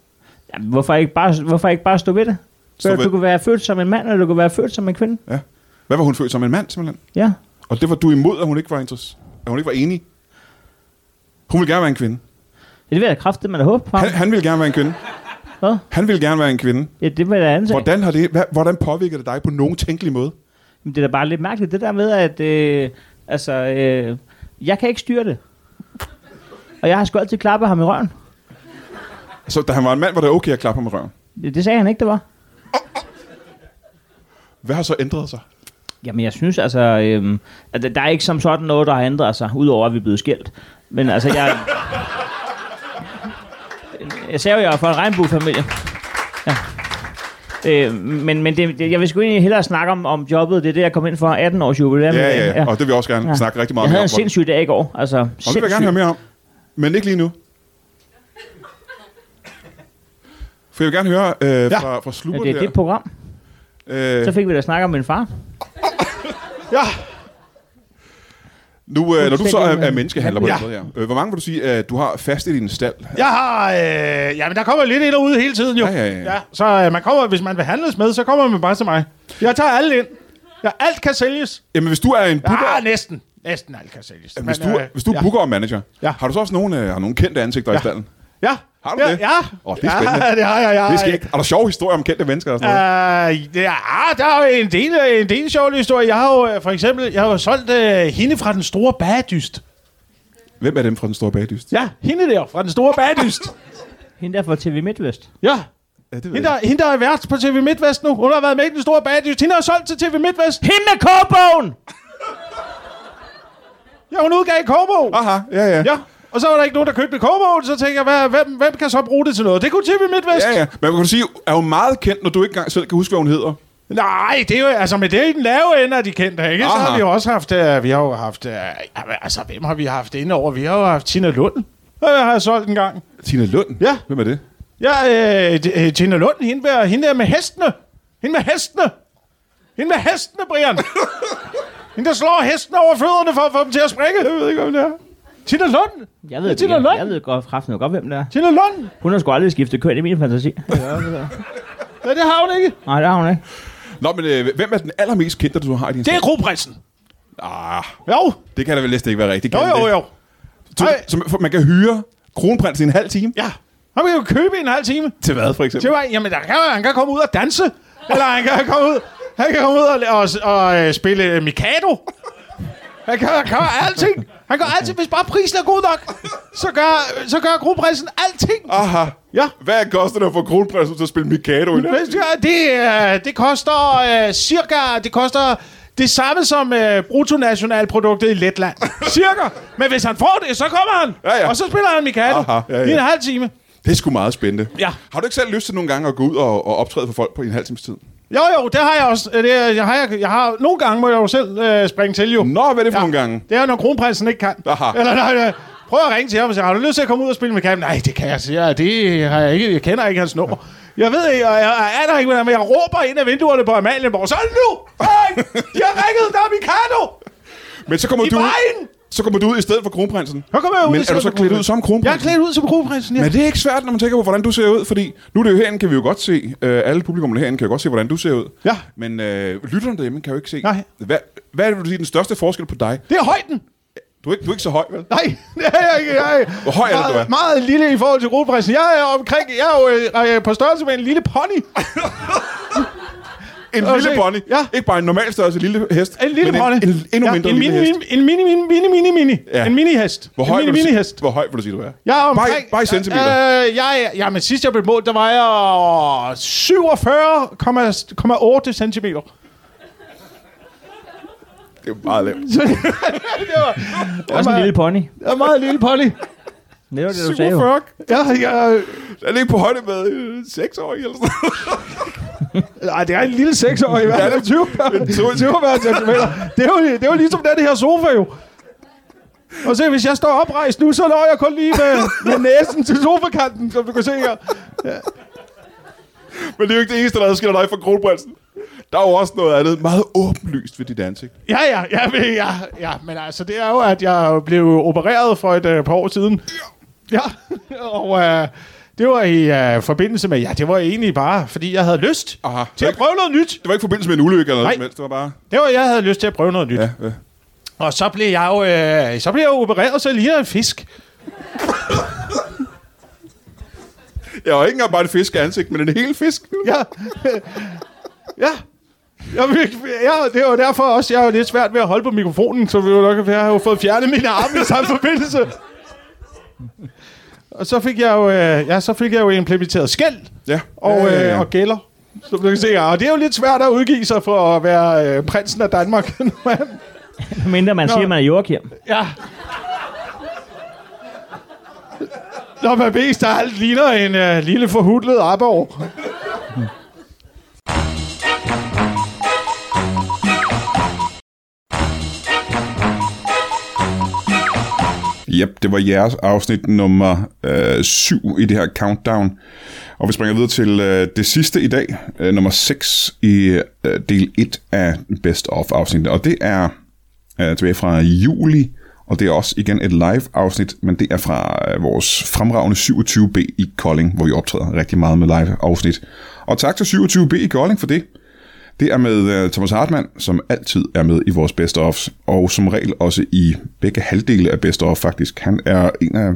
Speaker 12: Ja, hvorfor ikke bare, hvorfor ikke bare stå ved det?
Speaker 1: Stå
Speaker 12: Så
Speaker 1: ved-
Speaker 12: du kunne være født som en mand, eller du kunne være født som en kvinde.
Speaker 1: Ja. Hvad var hun født som en mand, simpelthen?
Speaker 12: Ja.
Speaker 1: Og det var du imod, at hun ikke var, interess- at hun ikke var enig. Hun ville gerne være en kvinde.
Speaker 12: Ja, det vil jeg kraftigt, man håbe på.
Speaker 1: Han, han ville gerne være en kvinde.
Speaker 12: Hvad?
Speaker 1: Han ville gerne være en kvinde.
Speaker 12: Ja, det var da ansigt.
Speaker 1: Hvordan, har det, hvad, hvordan påvirker det dig på nogen tænkelig måde?
Speaker 12: Men det er da bare lidt mærkeligt, det der med, at øh, altså, øh, jeg kan ikke styre det. Og jeg har sgu altid klappet ham i røven.
Speaker 1: Så da han var en mand, var det okay at klappe ham i røven.
Speaker 12: Ja, Det sagde han ikke, det var.
Speaker 1: Hvad har så ændret sig?
Speaker 12: Jamen, jeg synes altså, øh, at der- der er ikke som sådan noget, der har ændret sig, udover at vi er blevet skilt. Men altså, jeg... jeg sagde jo, jeg er fra en regnbuefamilie. Ja. Øh, men men det, det, jeg vil sgu egentlig hellere snakke om, om jobbet. Det er det, jeg kom ind for. 18 års jubilæum.
Speaker 1: Ja, ja, ja. Og det vil jeg også gerne
Speaker 12: Ja.
Speaker 1: ja. snakke rigtig meget
Speaker 12: Jeg havde
Speaker 1: mere
Speaker 12: en
Speaker 1: om. hvor-
Speaker 12: sindssyg dag i går. Altså,
Speaker 1: Og det vil jeg
Speaker 12: sindssyg.
Speaker 1: gerne høre mere om. Men ikke lige nu. For jeg vil gerne høre øh, fra, fra
Speaker 12: Ja,
Speaker 1: slutter
Speaker 12: det er
Speaker 1: der.
Speaker 12: det program.
Speaker 1: Øh,
Speaker 12: Så fik vi da snakket om min far.
Speaker 1: Ja. Nu, øh, når du så er,
Speaker 13: Fuldstændig.
Speaker 1: er menneskehandler på
Speaker 13: Ja.
Speaker 1: ja. den måde her, øh, hvor mange vil du sige, at du har fast i din stald?
Speaker 13: Jeg har... Øh, jamen, der kommer lidt ind og ud hele tiden, jo.
Speaker 1: Ja, ja, ja.
Speaker 13: så øh, man kommer, hvis man vil handles med, så kommer man bare til mig. Jeg tager alt ind. Ja, alt kan sælges.
Speaker 1: Jamen, hvis du er en booker,
Speaker 13: Ja, næsten. Næsten alt kan sælges.
Speaker 1: hvis
Speaker 13: Men,
Speaker 1: du,
Speaker 13: øh,
Speaker 1: hvis du er
Speaker 13: ja.
Speaker 1: booker og manager,
Speaker 13: Ja.
Speaker 1: har du så også nogle, øh, har nogle kendte ansigter ja. i stalden?
Speaker 13: Ja.
Speaker 1: Har du
Speaker 13: ja,
Speaker 1: det?
Speaker 13: Ja.
Speaker 1: Åh, det er spændende.
Speaker 13: Ja, det har jeg. jeg
Speaker 1: Det er skægt. Er der sjove historier om kendte mennesker og sådan noget?
Speaker 13: Uh, ja, ah, der er jo en del, øh, en del sjov historie. Jeg har jo øh, for eksempel jeg har jo solgt øh, hende fra den store bagdyst.
Speaker 1: Hvem er dem fra den store bagdyst?
Speaker 13: Ja, hende der fra den store bagdyst.
Speaker 12: Hende der fra TV MidtVest.
Speaker 13: Ja.
Speaker 1: Ja, det
Speaker 13: Hende, der, hende, der er vært på TV MidtVest nu. Hun har været med i den store bagdyst. Hende har solgt til TV MidtVest.
Speaker 12: Hende med kogbogen!
Speaker 13: Ja, hun udgav kogbogen.
Speaker 1: Aha, ja, ja.
Speaker 13: Ja, og så var der ikke nogen, der købte kogbogen. Så tænker jeg, hvad, hvem, hvem kan så bruge det til noget? Det kunne TV MidtVest.
Speaker 1: Ja, ja. Men kan du sige, er hun meget kendt, når du ikke engang selv kan huske, hvad hun hedder?
Speaker 13: Nej, det er jo, altså, men det er i den lave ende af de kendte, ikke? Så
Speaker 1: Aha.
Speaker 13: har vi jo også haft, uh, vi har jo haft, uh, altså, hvem har vi haft inde over? Vi har jo haft Tina Lund. Øh, har jeg solgt en gang.
Speaker 1: Tina Lund?
Speaker 13: Ja.
Speaker 1: Hvem er det?
Speaker 13: Ja, øh, d- øh, Tina Lund, hende, der, hende der med hestene. Hende med hestene. Hende med hestene, Brian. hende, der slår hestene over fødderne for at få dem til at springe. Jeg ved ikke, om det er. Tina Lund.
Speaker 12: Jeg ved,
Speaker 13: Ja,
Speaker 12: det,
Speaker 13: Tina
Speaker 12: ikke.
Speaker 13: Lund.
Speaker 12: jeg ved godt, kraften godt, hvem det er.
Speaker 13: Tina Lund.
Speaker 12: Hun har sgu aldrig skiftet køn i min fantasi.
Speaker 13: Ja, det har hun ikke.
Speaker 12: Nej, det har hun ikke.
Speaker 1: Nå, men øh, hvem er den allermest kendte, du har i din
Speaker 13: Det er
Speaker 1: stald?
Speaker 13: Kroprinsen.
Speaker 1: Ah,
Speaker 13: Jo,
Speaker 1: det kan da vel næsten ikke være rigtigt.
Speaker 13: jo,
Speaker 1: kan
Speaker 13: jo,
Speaker 1: det?
Speaker 13: jo.
Speaker 1: Så,
Speaker 13: Ej.
Speaker 1: så man- for man kan hyre kronprinsen i en halv time?
Speaker 13: Ja, han kan jo købe i en halv time.
Speaker 1: Til hvad, for
Speaker 13: Det
Speaker 1: eksempel?
Speaker 13: var, jamen, der kan, han kan komme ud og danse. Eller han kan komme ud, han kan komme ud og, og, og øh, spille øh, Mikado. Han kan, han kan alting. Han gør alting, hvis bare prisen er god nok. Så gør, så gør gruppræsen alting.
Speaker 1: Aha.
Speaker 13: Ja.
Speaker 1: Hvad koster det at få kronprinsen til at spille Mikado? i
Speaker 13: Hvis du gør Det, øh, det koster øh, cirka, det koster det samme som øh, bruttonationalproduktet i Letland. Cirka. Men hvis han får det, så kommer han.
Speaker 1: Ja, ja.
Speaker 13: Og så spiller han Mikado
Speaker 1: Aha, ja, ja.
Speaker 13: i en halv time.
Speaker 1: Det er sgu meget spændende.
Speaker 13: Ja.
Speaker 1: Har du ikke selv lyst til nogle gange at gå ud og, og optræde for folk på en halv times tid?
Speaker 13: Jo, jo, det har jeg også. Øh, Det, er- jeg har, jeg, jeg har, nogle gange må jeg jo selv øh, springe til, jo.
Speaker 1: Nå, hvad er det for nogle gange?
Speaker 13: Det er, når kronprinsen ikke kan.
Speaker 1: Aha.
Speaker 13: Eller, nej, nej. Prøv at ringe til ham og sige, har du lyst til at komme ud og spille med kampen? Nej, det kan jeg sige. Ja, det har jeg ikke. Jeg kender ikke hans nummer. Jeg ved ikke, og jeg, jeg aner ikke, hvordan, men jeg råber ind af vinduerne på Amalienborg. Så nu! Hey! De har ringet, der er Mikado!
Speaker 1: Men så kommer,
Speaker 13: I
Speaker 1: du ud,
Speaker 13: vejen!
Speaker 1: så kommer du ud i stedet for kronprinsen.
Speaker 13: Så kommer jeg ud.
Speaker 1: Men
Speaker 13: i
Speaker 1: er du
Speaker 13: stedet
Speaker 1: så
Speaker 13: for
Speaker 1: klædt ud
Speaker 13: kronprinsen.
Speaker 1: som kronprinsen?
Speaker 13: Jeg er klædt ud som kronprinsen, ja.
Speaker 1: Men det er ikke svært, når man tænker på, hvordan du ser ud, fordi nu er det jo herinde, kan vi jo godt se, øh, alle publikummerne herinde kan jo godt se, hvordan du ser ud.
Speaker 13: Ja.
Speaker 1: Men øh, lytterne derhjemme kan jo ikke se.
Speaker 13: Nej.
Speaker 1: Hvad, hvad er det, vil du sige, den største forskel på dig?
Speaker 13: Det er højden.
Speaker 1: Du er ikke, du er ikke så høj, vel?
Speaker 13: Nej, det er jeg ikke. Jeg er
Speaker 1: Hvor høj er det, du
Speaker 13: meget,
Speaker 1: er?
Speaker 13: meget lille i forhold til rotprinsen. Jeg er omkring, jeg er jo øh, øh, på størrelse med en lille pony.
Speaker 1: En
Speaker 13: Og
Speaker 1: lille
Speaker 13: se-
Speaker 1: pony.
Speaker 13: Ja.
Speaker 1: Ikke bare en normal størrelse lille hest.
Speaker 13: En lille
Speaker 1: men
Speaker 13: pony.
Speaker 1: En, en, endnu mindre
Speaker 13: en
Speaker 1: lille
Speaker 13: mini,
Speaker 1: hest.
Speaker 13: Mini, en mini, mini, mini, mini, mini.
Speaker 1: Ja.
Speaker 13: Ja. En mini-hest.
Speaker 1: Hvor høj,
Speaker 13: en
Speaker 1: vil du
Speaker 13: mini,
Speaker 1: sige-
Speaker 13: mini-hest.
Speaker 1: hvor høj vil du sige, du er?
Speaker 13: Jeg er
Speaker 1: Bare i-
Speaker 13: omkring...
Speaker 1: Bare i centimeter.
Speaker 13: Øh, jeg, er- jamen, sidst jeg blev målt, der var jeg 47,8 centimeter.
Speaker 1: Det er jo meget lavt.
Speaker 12: Også en lille pony.
Speaker 13: Jeg er en meget lille pony.
Speaker 12: Det var det, du sagde. jo.
Speaker 13: 47. Ja, jeg,
Speaker 1: Den er ikke på højde med øh, 6 år eller sådan noget.
Speaker 13: Nej, det er en lille seksårig i hvert fald. 20 per centimeter. Det er, jo, det er jo ligesom den her sofa jo. Og se, hvis jeg står oprejst nu, så når jeg kun lige med, med næsen til sofakanten, som du kan se her. Ja.
Speaker 1: Men det er jo ikke det eneste, der adskiller dig fra Kronprinsen. Der er jo også noget andet meget åbenlyst ved dit ansigt.
Speaker 13: Ja, ja, ja, men, ja, ja, men altså, det er jo, at jeg blev opereret for et øh, par år siden. Ja, og øh, det var i øh, forbindelse med, ja, det var egentlig bare, fordi jeg havde lyst Aha. til at prøve noget nyt. Det
Speaker 1: var ikke i forbindelse med en ulykke eller noget
Speaker 13: Nej.
Speaker 1: som helst, det var bare...
Speaker 13: Det var, jeg havde lyst til at prøve noget nyt. Ja,
Speaker 1: ja.
Speaker 13: Og så blev jeg jo, øh, så blev jeg jo opereret, så ligner jeg en fisk.
Speaker 1: Jeg var ikke engang bare en fisk i ansigt, men en hel fisk.
Speaker 13: Ja. ja. Jeg, vil- ja, det var derfor også, jeg har lidt svært ved at holde på mikrofonen, så vi jo nok, jeg har jo fået fjernet mine arme i samme forbindelse. Og så fik jeg jo, øh, ja, så fik jeg jo implementeret skæld
Speaker 1: ja.
Speaker 13: og,
Speaker 1: Ja, ja, ja.
Speaker 13: Øh, og gælder. Som du kan se, og det er jo lidt svært at udgive sig for at være øh, prinsen af Danmark. når man-
Speaker 12: Mindre man
Speaker 13: Nå.
Speaker 12: Nå. siger, man er Joachim.
Speaker 13: Ja. Når man mest af alt ligner en øh, lille forhudlet aborg.
Speaker 1: Yep, det var jeres afsnit nummer 7 i det her countdown. Og vi springer videre til øh, det sidste i dag, øh, nummer 6 i øh, del 1 af Best of afsnittet. Og det er øh, tilbage fra juli, og det er også igen et live afsnit, men det er fra øh, vores fremragende 27B i Kolding, hvor vi optræder rigtig meget med live afsnit. Og tak til 27B i Kolding for det. Det er med uh, Thomas Hartmann, som altid er med i vores best offs, og som regel også i begge halvdele af best of faktisk. Han er en af,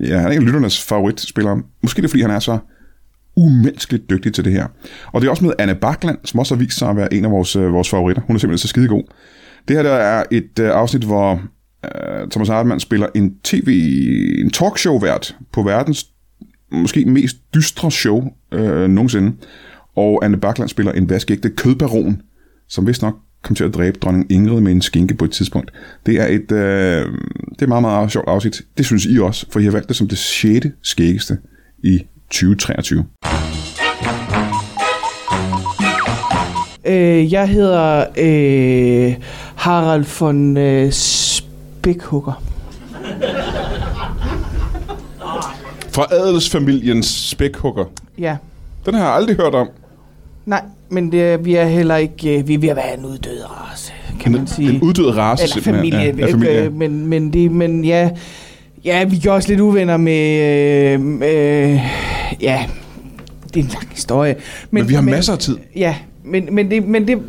Speaker 1: ja, han er en af lytternes favoritspillere. Måske det er, fordi han er så umenneskeligt dygtig til det her. Og det er også med Anne Bakland, som også har vist sig at være en af vores, øh, vores favoritter. Hun er simpelthen så skidegod. Det her der er et øh, afsnit, hvor øh, Thomas Hartmann spiller en tv, en talkshow-vært på verdens måske mest dystre show øh, nogensinde. Og Anne Bakland spiller en vaskeægte kødbaron, som vist nok kom til at dræbe dronning Ingrid med en skinke på et tidspunkt. Det er et øh, det er meget, meget sjovt afsnit. Det synes I også, for I har valgt det som det sjette skæggeste i 2023.
Speaker 14: Øh, jeg hedder øh, Harald von øh, Spækhugger.
Speaker 1: Fra adelsfamiliens spækhugger.
Speaker 14: Ja.
Speaker 1: Den har jeg aldrig hørt om.
Speaker 14: Nej, men det, vi er heller ikke... Øh, vi er ved at være en uddød race, kan man sige.
Speaker 1: En uddød race,
Speaker 14: Eller
Speaker 1: simpelthen.
Speaker 14: familie.
Speaker 1: Ja, ja, familie.
Speaker 14: Øh, men, men, det, men ja, ja, vi er også lidt uvenner med... Øh, øh, ja, det er en lang historie. Men, men vi har men, masser
Speaker 1: af tid.
Speaker 14: Ja, men, men det... Men det Øh.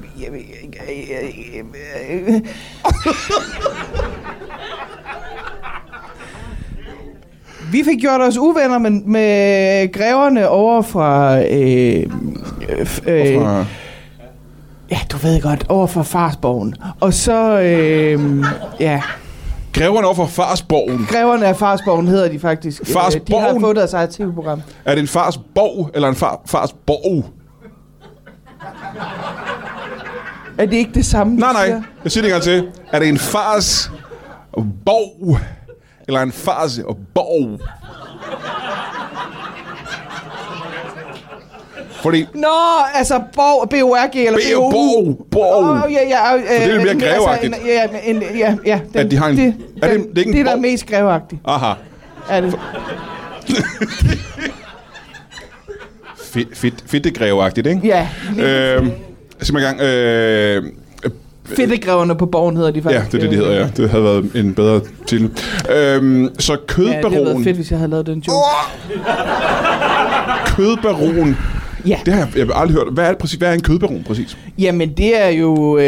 Speaker 14: Vi fik gjort os uvenner med, med greverne over fra... Øh, øh,
Speaker 1: Hvorfra?
Speaker 14: Ja, du ved godt, over fra Farsborgen. Og så, øh, ja,
Speaker 1: Greverne over for Farsborgen.
Speaker 14: greverne af Farsborgen hedder de faktisk. Øh, De har
Speaker 1: Farsborgen?
Speaker 14: fået deres eget tv-program.
Speaker 1: Er det en fars borg, eller en far, fars borg?
Speaker 14: Er det ikke det samme,
Speaker 1: Nej, nej. Jeg siger det en gang til. Er det en fars borg, eller en fars borg? Fordi
Speaker 14: Nå, altså Borg, B-O-R-G, eller
Speaker 1: B- Borg, Borg.
Speaker 14: Åh, ja, ja, øh,
Speaker 1: Så det er lidt mere
Speaker 14: men altså,
Speaker 1: greveagtigt.
Speaker 14: en- ja, men en, ja, ja, den,
Speaker 1: At de har en-
Speaker 14: det,
Speaker 1: er det-
Speaker 14: den,
Speaker 1: det er ikke en
Speaker 14: det, der er
Speaker 1: borg?
Speaker 14: mest greveagtigt.
Speaker 1: Aha.
Speaker 14: Er det?
Speaker 1: Fedt, fedt, fedtegrevagtigt, ikke?
Speaker 14: Ja,
Speaker 1: Øhm, sig mig i gang. Øh,
Speaker 14: Fedtegreverne på Borgen hedder de
Speaker 1: ja,
Speaker 14: faktisk.
Speaker 1: det er det, de hedder, ja. Det havde været en bedre titel. Øhm, så
Speaker 14: Ja, det havde været
Speaker 1: kødbaron.
Speaker 14: fedt, hvis jeg havde lavet den joke.
Speaker 1: kødbaron.
Speaker 14: Ja.
Speaker 1: Det har jeg, jeg har aldrig hørt. Hvad er, det præcis, hvad er en kødbaron præcis?
Speaker 14: Jamen, det er jo... Øh,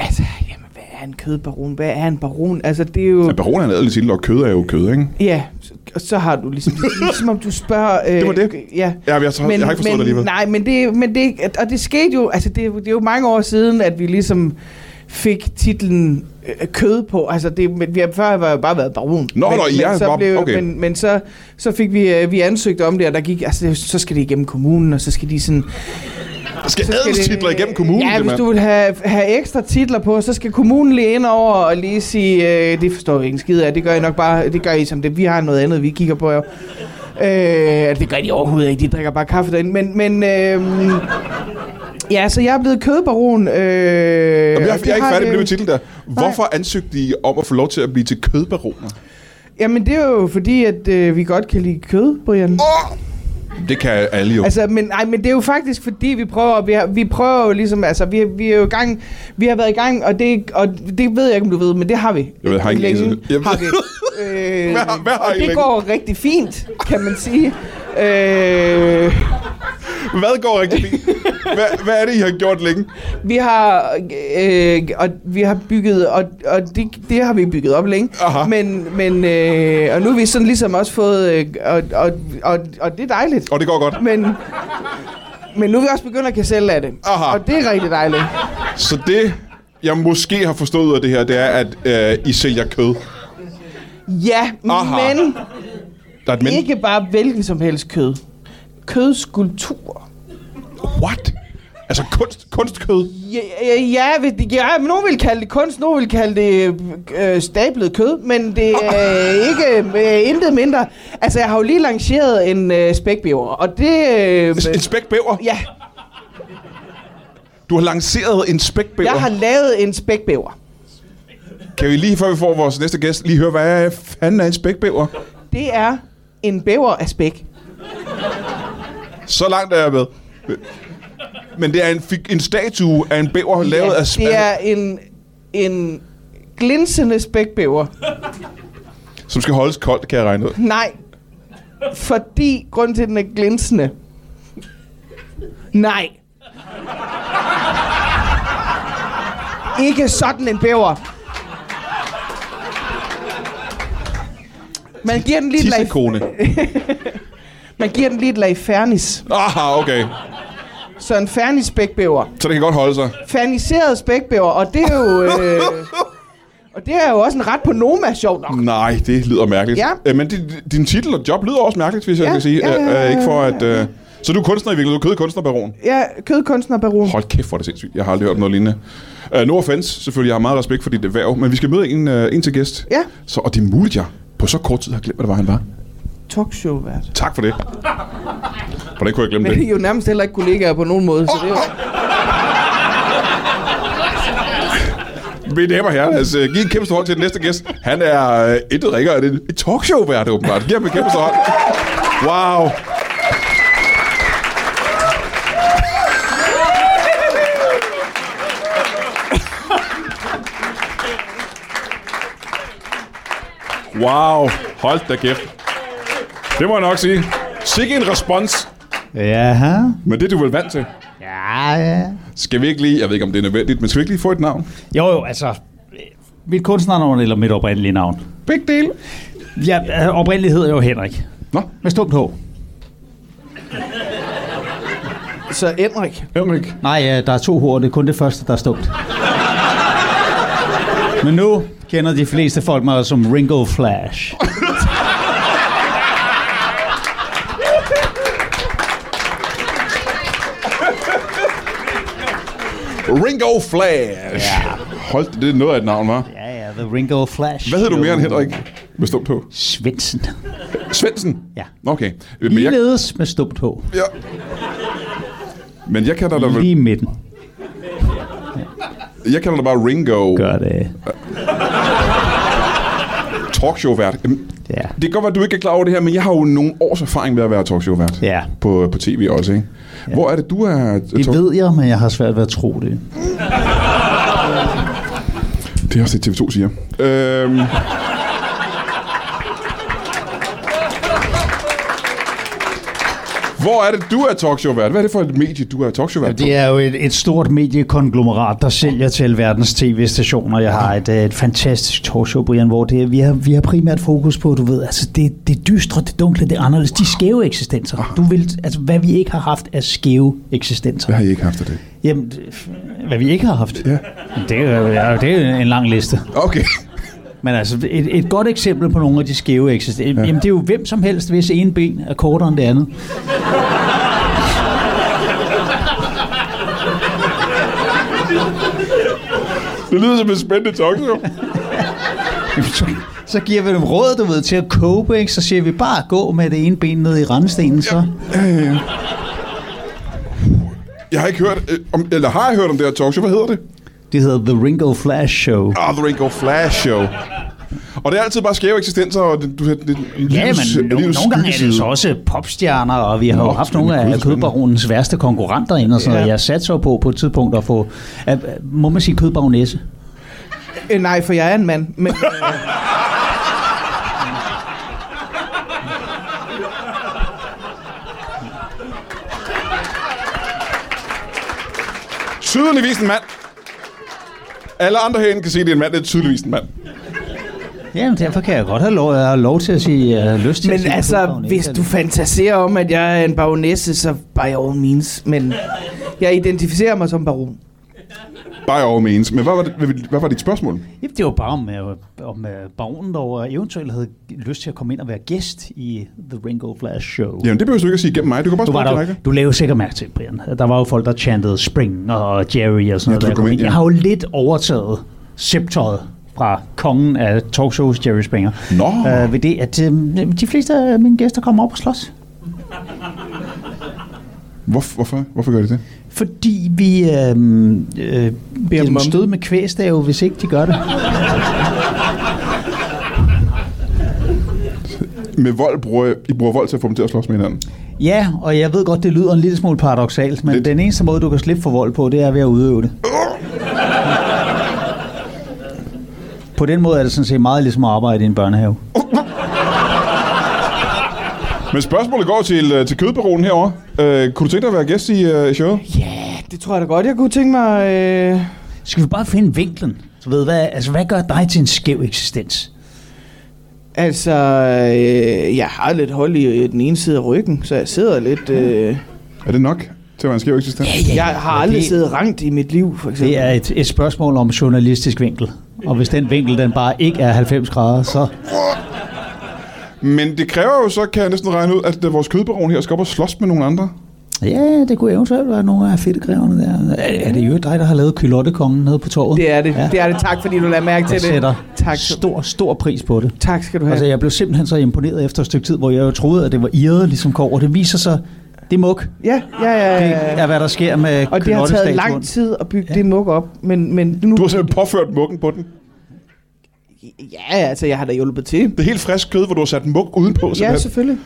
Speaker 14: altså, jamen, hvad er en kødbaron? Hvad er en baron? Altså, det er jo...
Speaker 1: Ja, baron er en adelig titel, og kød er jo kød, ikke?
Speaker 14: Ja, så- og så har du ligesom... Det er ligesom om du spørger... Øh, det var det. Ja.
Speaker 1: Ja, men Altså, jeg tror- jeg har ikke forstået
Speaker 14: men,
Speaker 1: det alligevel.
Speaker 14: Nej, men det, men det... Og det skete jo... Altså, det, er jo- det er jo mange år siden, at vi ligesom fik titlen øh, kød på. Altså, det, men vi har før var jo bare været baron.
Speaker 1: Nå,
Speaker 14: men,
Speaker 1: nå, I er
Speaker 14: men, så
Speaker 1: bare-
Speaker 14: blev,
Speaker 1: okay.
Speaker 14: men, men så, så fik vi, øh, vi ansøgt om det, og der gik, altså, det- så skal det igennem kommunen, og så skal de sådan...
Speaker 1: Der skal
Speaker 14: Så skal
Speaker 1: adelstitler
Speaker 14: det-
Speaker 1: igennem kommunen,
Speaker 14: Ja,
Speaker 1: det,
Speaker 14: hvis
Speaker 1: mand.
Speaker 14: du vil have, have ekstra titler på, så skal kommunen lige ind over og lige sige, øh, det forstår vi ikke en skid af, det gør I nok bare, det gør I som det, vi har noget andet, vi kigger på jo. Øh, det gør de overhovedet ikke, de drikker bare kaffe derinde. Men, men øh, ja, så jeg er blevet kødbaron. Øh,
Speaker 1: Jamen, jeg,
Speaker 14: og
Speaker 1: jeg er ikke færdig
Speaker 14: har
Speaker 1: med det
Speaker 14: det-
Speaker 1: med titlen der. Hvorfor ansøgte I om at få lov til at blive til kødbaroner?
Speaker 14: Jamen, det er jo fordi, at øh, vi godt kan lide kød, Brian. Oh!
Speaker 1: Det kan alle jo.
Speaker 14: Altså, men, ej, men det er jo faktisk fordi, vi prøver, vi, har, vi prøver jo ligesom, altså, vi, vi er jo i gang, vi har været i gang, og det, og det ved jeg ikke, om du ved, men det har vi.
Speaker 1: Jeg ved, har ikke
Speaker 14: længe.
Speaker 1: læst det. Jeg
Speaker 14: Har vi.
Speaker 1: ved-
Speaker 14: Øh,
Speaker 1: Hvad har- hvad har
Speaker 14: og
Speaker 1: I
Speaker 14: det
Speaker 1: længe?
Speaker 14: går rigtig fint, kan man sige. Øh,
Speaker 1: Hvad går rigtig fint? Hvad, hvad er det, I har gjort længe?
Speaker 14: vi har øh, og vi har bygget og, og det, det har vi bygget op længe. Aha. Men men øh, og nu har vi sådan ligesom også fået øh, og, og, og, og det er dejligt.
Speaker 1: Og det går godt.
Speaker 14: Men men nu er vi også begyndt at kan sælge af det. Aha. Og det er rigtig dejligt.
Speaker 1: Så det, jeg måske har forstået ud af det her, det er, at øh, I sælger kød.
Speaker 14: Ja,
Speaker 1: Aha.
Speaker 14: Aha. men
Speaker 1: Der er et men.
Speaker 14: ikke bare hvilken som helst kød. Kødskulptur.
Speaker 1: What? Altså kunst, kunstkød?
Speaker 14: Ja, ja, ja, vil- ja, men nogen vil kalde det kunst, nogen vil kalde det øh, stablet kød, men det er ikke øh, intet mindre. Altså, jeg har jo lige lanceret en øh, spækbæver, og det... Øh,
Speaker 1: En spækbæver?
Speaker 14: Ja,
Speaker 1: Du har lanceret en spækbæver.
Speaker 14: jeg har lavet en spækbæver.
Speaker 1: Kan vi lige, før vi får vores næste gæst, lige høre, hvad fanden er en spækbæver?
Speaker 14: Det er en bæver af spæk.
Speaker 1: Så langt er jeg med. Men det er en, fik- en statue af en bæver, lavet af spæk.
Speaker 14: Det er en, en glinsende spækbæver.
Speaker 1: Som skal holdes koldt, kan jeg regne ud.
Speaker 14: Nej, fordi grunden til, at den er glinsende. Nej. Ikke sådan en bæver. Man giver den lige et lag,
Speaker 1: Tissekone.
Speaker 14: man giver den lige et lag fernis.
Speaker 1: Aha, okay.
Speaker 14: Så en fernis spækbæver.
Speaker 1: Så det kan godt holde sig.
Speaker 14: Ferniseret spækbæver, og det er jo... Øh, og det er jo også en ret på Noma, sjovt nok.
Speaker 1: Nej, det lyder mærkeligt.
Speaker 14: Ja.
Speaker 1: Øh, men din, din titel og job lyder også mærkeligt, hvis jeg
Speaker 14: Ja,
Speaker 1: kan sige.
Speaker 14: ja,
Speaker 1: Øh,
Speaker 14: ja,
Speaker 1: øh, ikke for
Speaker 14: ja,
Speaker 1: at... Øh, så du er kunstner i virkeligheden, du er kødkunstnerbaron.
Speaker 14: Ja, kødkunstnerbaron.
Speaker 1: Hold kæft, hvor er det sindssygt. Jeg har aldrig hørt om noget lignende. Uh, no offense, selvfølgelig. Jeg har meget respekt for dit erhverv, men vi skal møde en, uh, en til gæst.
Speaker 14: Ja.
Speaker 1: Så, og det er muligt, jeg på så kort tid har glemt, hvad det var, han var.
Speaker 14: Talkshow-vært.
Speaker 1: Tak for det. Hvordan kunne jeg glemme
Speaker 14: Men I er
Speaker 1: det?
Speaker 14: jo nærmest heller ikke kollegaer på nogen måde, så det er jo...
Speaker 1: Mine damer og herrer, lad os uh, give en kæmpe stor hånd til den næste gæst. Han er uh, intet ringere end en en talkshow-vært, åbenbart. Giv ham en kæmpe stor hånd. Wow. Wow. Hold da kæft. Det må jeg nok sige. Sikke en respons.
Speaker 15: Ja.
Speaker 1: Men det er du vel vant til.
Speaker 15: Ja, ja.
Speaker 1: Skal vi ikke lige, jeg ved ikke om det er nødvendigt, men skal vi ikke lige få et navn?
Speaker 15: Jo, jo, altså... øh, Mit kunstnernavn eller mit oprindelige navn?
Speaker 1: Big deal.
Speaker 15: Ja, altså, oprindeligt hedder jeg jo Henrik.
Speaker 1: Nå?
Speaker 15: Med stumt H.
Speaker 14: Så Henrik.
Speaker 15: Henrik. Nej, ja, der er to H'er, det er kun det første, der er stumt. Men nu kender de fleste folk mig som Ringo Flash.
Speaker 1: Ringo Flash. Ja. Hold da, det er noget af et navn, var.
Speaker 15: Ja, ja, The Ringo Flash.
Speaker 1: Hvad hedder du mere end
Speaker 15: Show.
Speaker 1: Henrik? Med stumt på.
Speaker 15: Svendsen.
Speaker 1: Svendsen?
Speaker 15: Ja.
Speaker 1: Okay. Øh, Men jeg,
Speaker 15: Ligeledes med stumt H.
Speaker 1: Ja. men jeg kalder dig vel...
Speaker 15: Lige i midten.
Speaker 1: Jeg kalder dig bare Ringo. Gør
Speaker 15: det.
Speaker 1: Talkshow-vært. Jamen,
Speaker 15: Ja.
Speaker 1: Det kan godt være, at du ikke er klar over det her, men jeg har jo nogle års erfaring med at være talkshow-vært.
Speaker 15: Ja.
Speaker 1: På, på tv også, ikke? Ja. Hvor er det, du er... øh,
Speaker 15: Det ved jeg, men jeg har svært ved at tro det.
Speaker 1: Det er også det, TV2 siger. Øhm. Hvor er det, du er talkshow-vært? Hvad er det for et medie, du er talkshow-vært på?
Speaker 15: Det er jo et, et stort mediekonglomerat, der sælger til verdens tv-stationer. Jeg har et, øh, et fantastisk talkshow, Brian, hvor det, er- vi, har, vi har primært fokus på, du ved, altså det, det dystre, det dunkle, det anderledes, de skæve eksistenser. Du vil, altså, hvad vi ikke har haft af skæve eksistenser. Hvad
Speaker 1: har I ikke haft af det?
Speaker 15: Jamen, det- hvad vi ikke har haft?
Speaker 1: Ja.
Speaker 15: Det, er jo- ja, det er jo en lang liste.
Speaker 1: Okay.
Speaker 15: Men altså, et, et godt eksempel på nogle af de skæve eksistenser, ja. jamen det er jo hvem som helst, hvis en ben er kortere end det andet.
Speaker 1: Det lyder som en spændende talkshow.
Speaker 15: Jamen, så, Så giver vi dem råd, du ved, til at cope, ikke? Så siger vi bare gå med det ene ben ned i randstenen, så. Øh.
Speaker 1: Jeg har ikke hørt, øh, om, eller har jeg hørt om det her talkshow? Hvad hedder det?
Speaker 15: Det hedder The Ringo Flash Show.
Speaker 1: Ah, The Ringo Flash Show. Og det er altid bare skæve eksistenser, og det, du, det, det,
Speaker 15: Ja,
Speaker 1: livets-
Speaker 15: men no,
Speaker 1: livets
Speaker 15: nogle gange er det
Speaker 1: skyggeside.
Speaker 15: så også popstjerner, og vi har
Speaker 1: Nå,
Speaker 15: jo haft nogle
Speaker 1: spændende,
Speaker 15: af kødbaronens værste konkurrenter ind og sådan noget. Jeg satte så på på et tidspunkt at få... At, må man sige kødbaronesse?
Speaker 14: Øh, nej, for jeg er en mand. Men, øh,
Speaker 1: Tydeligvis en mand. Alle andre herinde kan se, at det er en mand. Det er tydeligvis en mand.
Speaker 15: Jamen, derfor kan jeg godt have lov, jeg har lov til at sige... Jeg har lyst til at
Speaker 14: men
Speaker 15: sige
Speaker 14: altså,
Speaker 15: kødbaronesse.
Speaker 14: hvis du fantaserer om, at jeg er en baronesse, så by all means. Men jeg identificerer mig som baron.
Speaker 1: By all means. Men hvad var, det, hvad- hvad var dit spørgsmål?
Speaker 15: Jamen, det var bare om, øh, om øh, baronen derovre eventuelt havde lyst til at komme ind og være gæst i The Ringo Flash Show.
Speaker 1: Jamen, det behøver du ikke at sige gennem mig. Du kan bare
Speaker 15: Du, var
Speaker 1: spørge
Speaker 15: der,
Speaker 1: direkte.
Speaker 15: du lavede sikkert mærke til, Brian. Der var jo folk, der chantede Spring og Jerry
Speaker 1: Ja,
Speaker 15: og sådan noget.
Speaker 1: du
Speaker 15: da jeg,
Speaker 1: kom
Speaker 15: kom
Speaker 1: ind,
Speaker 15: ind.
Speaker 1: ja.
Speaker 15: jeg har jo lidt overtaget sceptøjet fra kongen af talkshows, Jerry Springer.
Speaker 1: Nå.
Speaker 15: Øh, ved det, at øh, de fleste af mine gæster kommer op og slås.
Speaker 1: Hvor, hvorfor? Hvorfor gør de det?
Speaker 15: Fordi vi øh, øh, bliver
Speaker 14: om-
Speaker 15: dem stød med kvæstave, hvis ikke de gør det.
Speaker 1: Med vold bruger I bruger vold til at få dem til at slås med hinanden.
Speaker 15: Ja, og jeg ved godt, det lyder en lille smule paradoxalt, men den eneste måde, du kan slippe for vold på, det er ved at udøve det. På den måde er det sådan set meget ligesom at arbejde i en børnehave.
Speaker 1: Men spørgsmålet går til, øh, til kødbaronen herovre. Øh, kunne du tænke dig at være gæst i øh, showet?
Speaker 14: Det tror jeg da godt, jeg kunne tænke mig... Øh...
Speaker 15: Skal vi bare finde vinklen? Så ved, hvad, altså, hvad gør dig til en skæv eksistens?
Speaker 14: Altså, øh, jeg har lidt hold i øh, den ene side af ryggen, så jeg sidder lidt... Øh...
Speaker 1: Er det nok til at være en skæv eksistens?
Speaker 14: Jeg har aldrig det... siddet rangt i mit liv, for eksempel.
Speaker 15: Det er et, et spørgsmål om journalistisk vinkel. Og hvis den vinkel, den bare ikke er 90 grader, så...
Speaker 1: Men det kræver jo så, kan jeg næsten regne ud, at øh, vores kødbaron her skal op og slås med nogle andre.
Speaker 15: Ja, det kunne eventuelt være nogle af fedtegræverne der. Er, er det jo dig, der har lavet kylottekongen nede på torvet?
Speaker 14: Det er det.
Speaker 15: Ja.
Speaker 14: Ja. Det er det. Tak, fordi du lader mærke til
Speaker 15: Jeg sætter
Speaker 14: det. Tak.
Speaker 15: Stor, stor pris på det.
Speaker 14: Tak skal du have.
Speaker 15: Altså, jeg blev simpelthen så imponeret efter et stykke tid, hvor jeg jo troede, at det var irret ligesom går, og det viser sig, det er muk.
Speaker 14: Ja, ja, ja. ja,
Speaker 15: Det er, hvad der sker med
Speaker 14: Og det har taget
Speaker 15: kylottestatuen.
Speaker 14: lang tid at bygge ja. det muk op, men, men nu...
Speaker 1: Du har simpelthen påført mukken på den.
Speaker 14: Ja, altså, jeg har da hjulpet til.
Speaker 1: Det er helt frisk kød, hvor du har sat muk udenpå.
Speaker 14: Ja,
Speaker 1: simpelthen.
Speaker 14: selvfølgelig.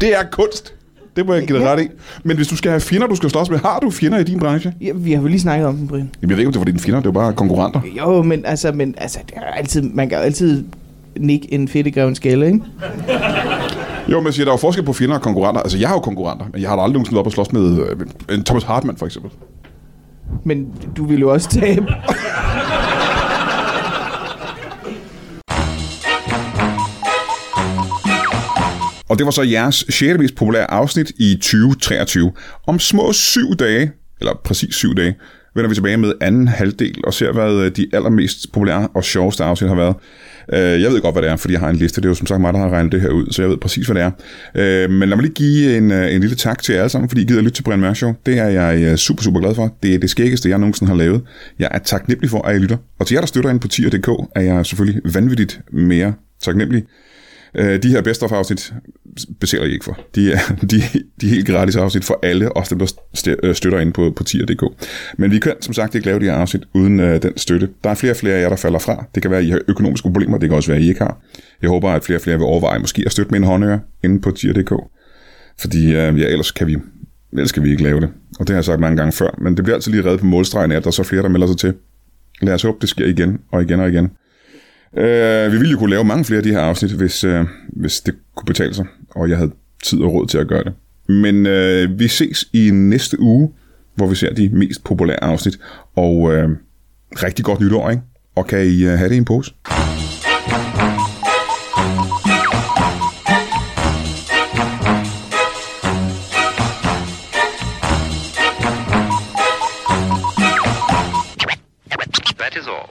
Speaker 1: Det er kunst. Det må jeg give dig ret i. Men hvis du skal have fjender, du skal slås med, har du fjender i din branche?
Speaker 14: Ja, vi har jo lige snakket om den, Brian.
Speaker 1: Jamen, jeg ved ikke, om det var dine fjender, det var bare konkurrenter.
Speaker 14: Jo, men altså, men, altså det er altid, man kan jo altid nikke en fedtegrævens skælde, ikke?
Speaker 1: Jo, men jeg siger, der er jo forskel på fjender og konkurrenter. Altså, jeg har jo konkurrenter, men jeg har da aldrig nogensinde været op og slås med øh, en Thomas Hartmann, for eksempel.
Speaker 14: Men du ville jo også tabe.
Speaker 1: Og det var så jeres 6. mest populære afsnit i 2023. Om små syv dage, eller præcis syv dage, vender vi tilbage med anden halvdel og ser, hvad øh, de allermest populære og sjoveste afsnit har været. Øh, Jeg ved godt, hvad det er, fordi jeg har en liste. Det er jo som sagt mig, der har regnet det her ud, så jeg ved præcis, hvad det er. Øh, Men lad mig lige give en, øh, en lille tak til jer alle sammen, fordi I gider at lytte til Brian Mørk Show. Det er jeg øh, super, super glad for. Det er det skæggeste, jeg nogensinde har lavet. Jeg er taknemmelig for, at I lytter. Og til jer, der støtter ind på tier.dk, er jeg selvfølgelig vanvittigt mere taknemmelig. Øh, De her best of afsnit betaler I ikke for. De er, de, de er helt gratis afsnit for alle os, dem, der st- øh, støtter ind på, på tier.dk. Men vi kan som sagt ikke lave de her afsnit uden øh, den støtte. Der er flere og flere af jer, der falder fra. Det kan være, at I har økonomiske problemer. Det kan også være, at I ikke har. Jeg håber, at flere og flere vil overveje måske at støtte med en håndøre inde på tier.dk. Fordi øh, ja, ellers kan vi ellers kan vi ikke lave det. Og det har jeg sagt mange gange før, men det bliver altid lige reddet på målstregen af, at der er så flere, der melder sig til. Lad os håbe, det sker igen og igen og igen. Øh, vi ville jo kunne lave mange flere af de her afsnit, hvis, øh, hvis det kunne betale sig, og jeg havde tid og råd til at gøre det. Men øh, vi ses i næste uge, hvor vi ser de mest populære afsnit, og øh, rigtig godt nytår, ikke? Og kan I øh, have det i en pose?
Speaker 16: That is all.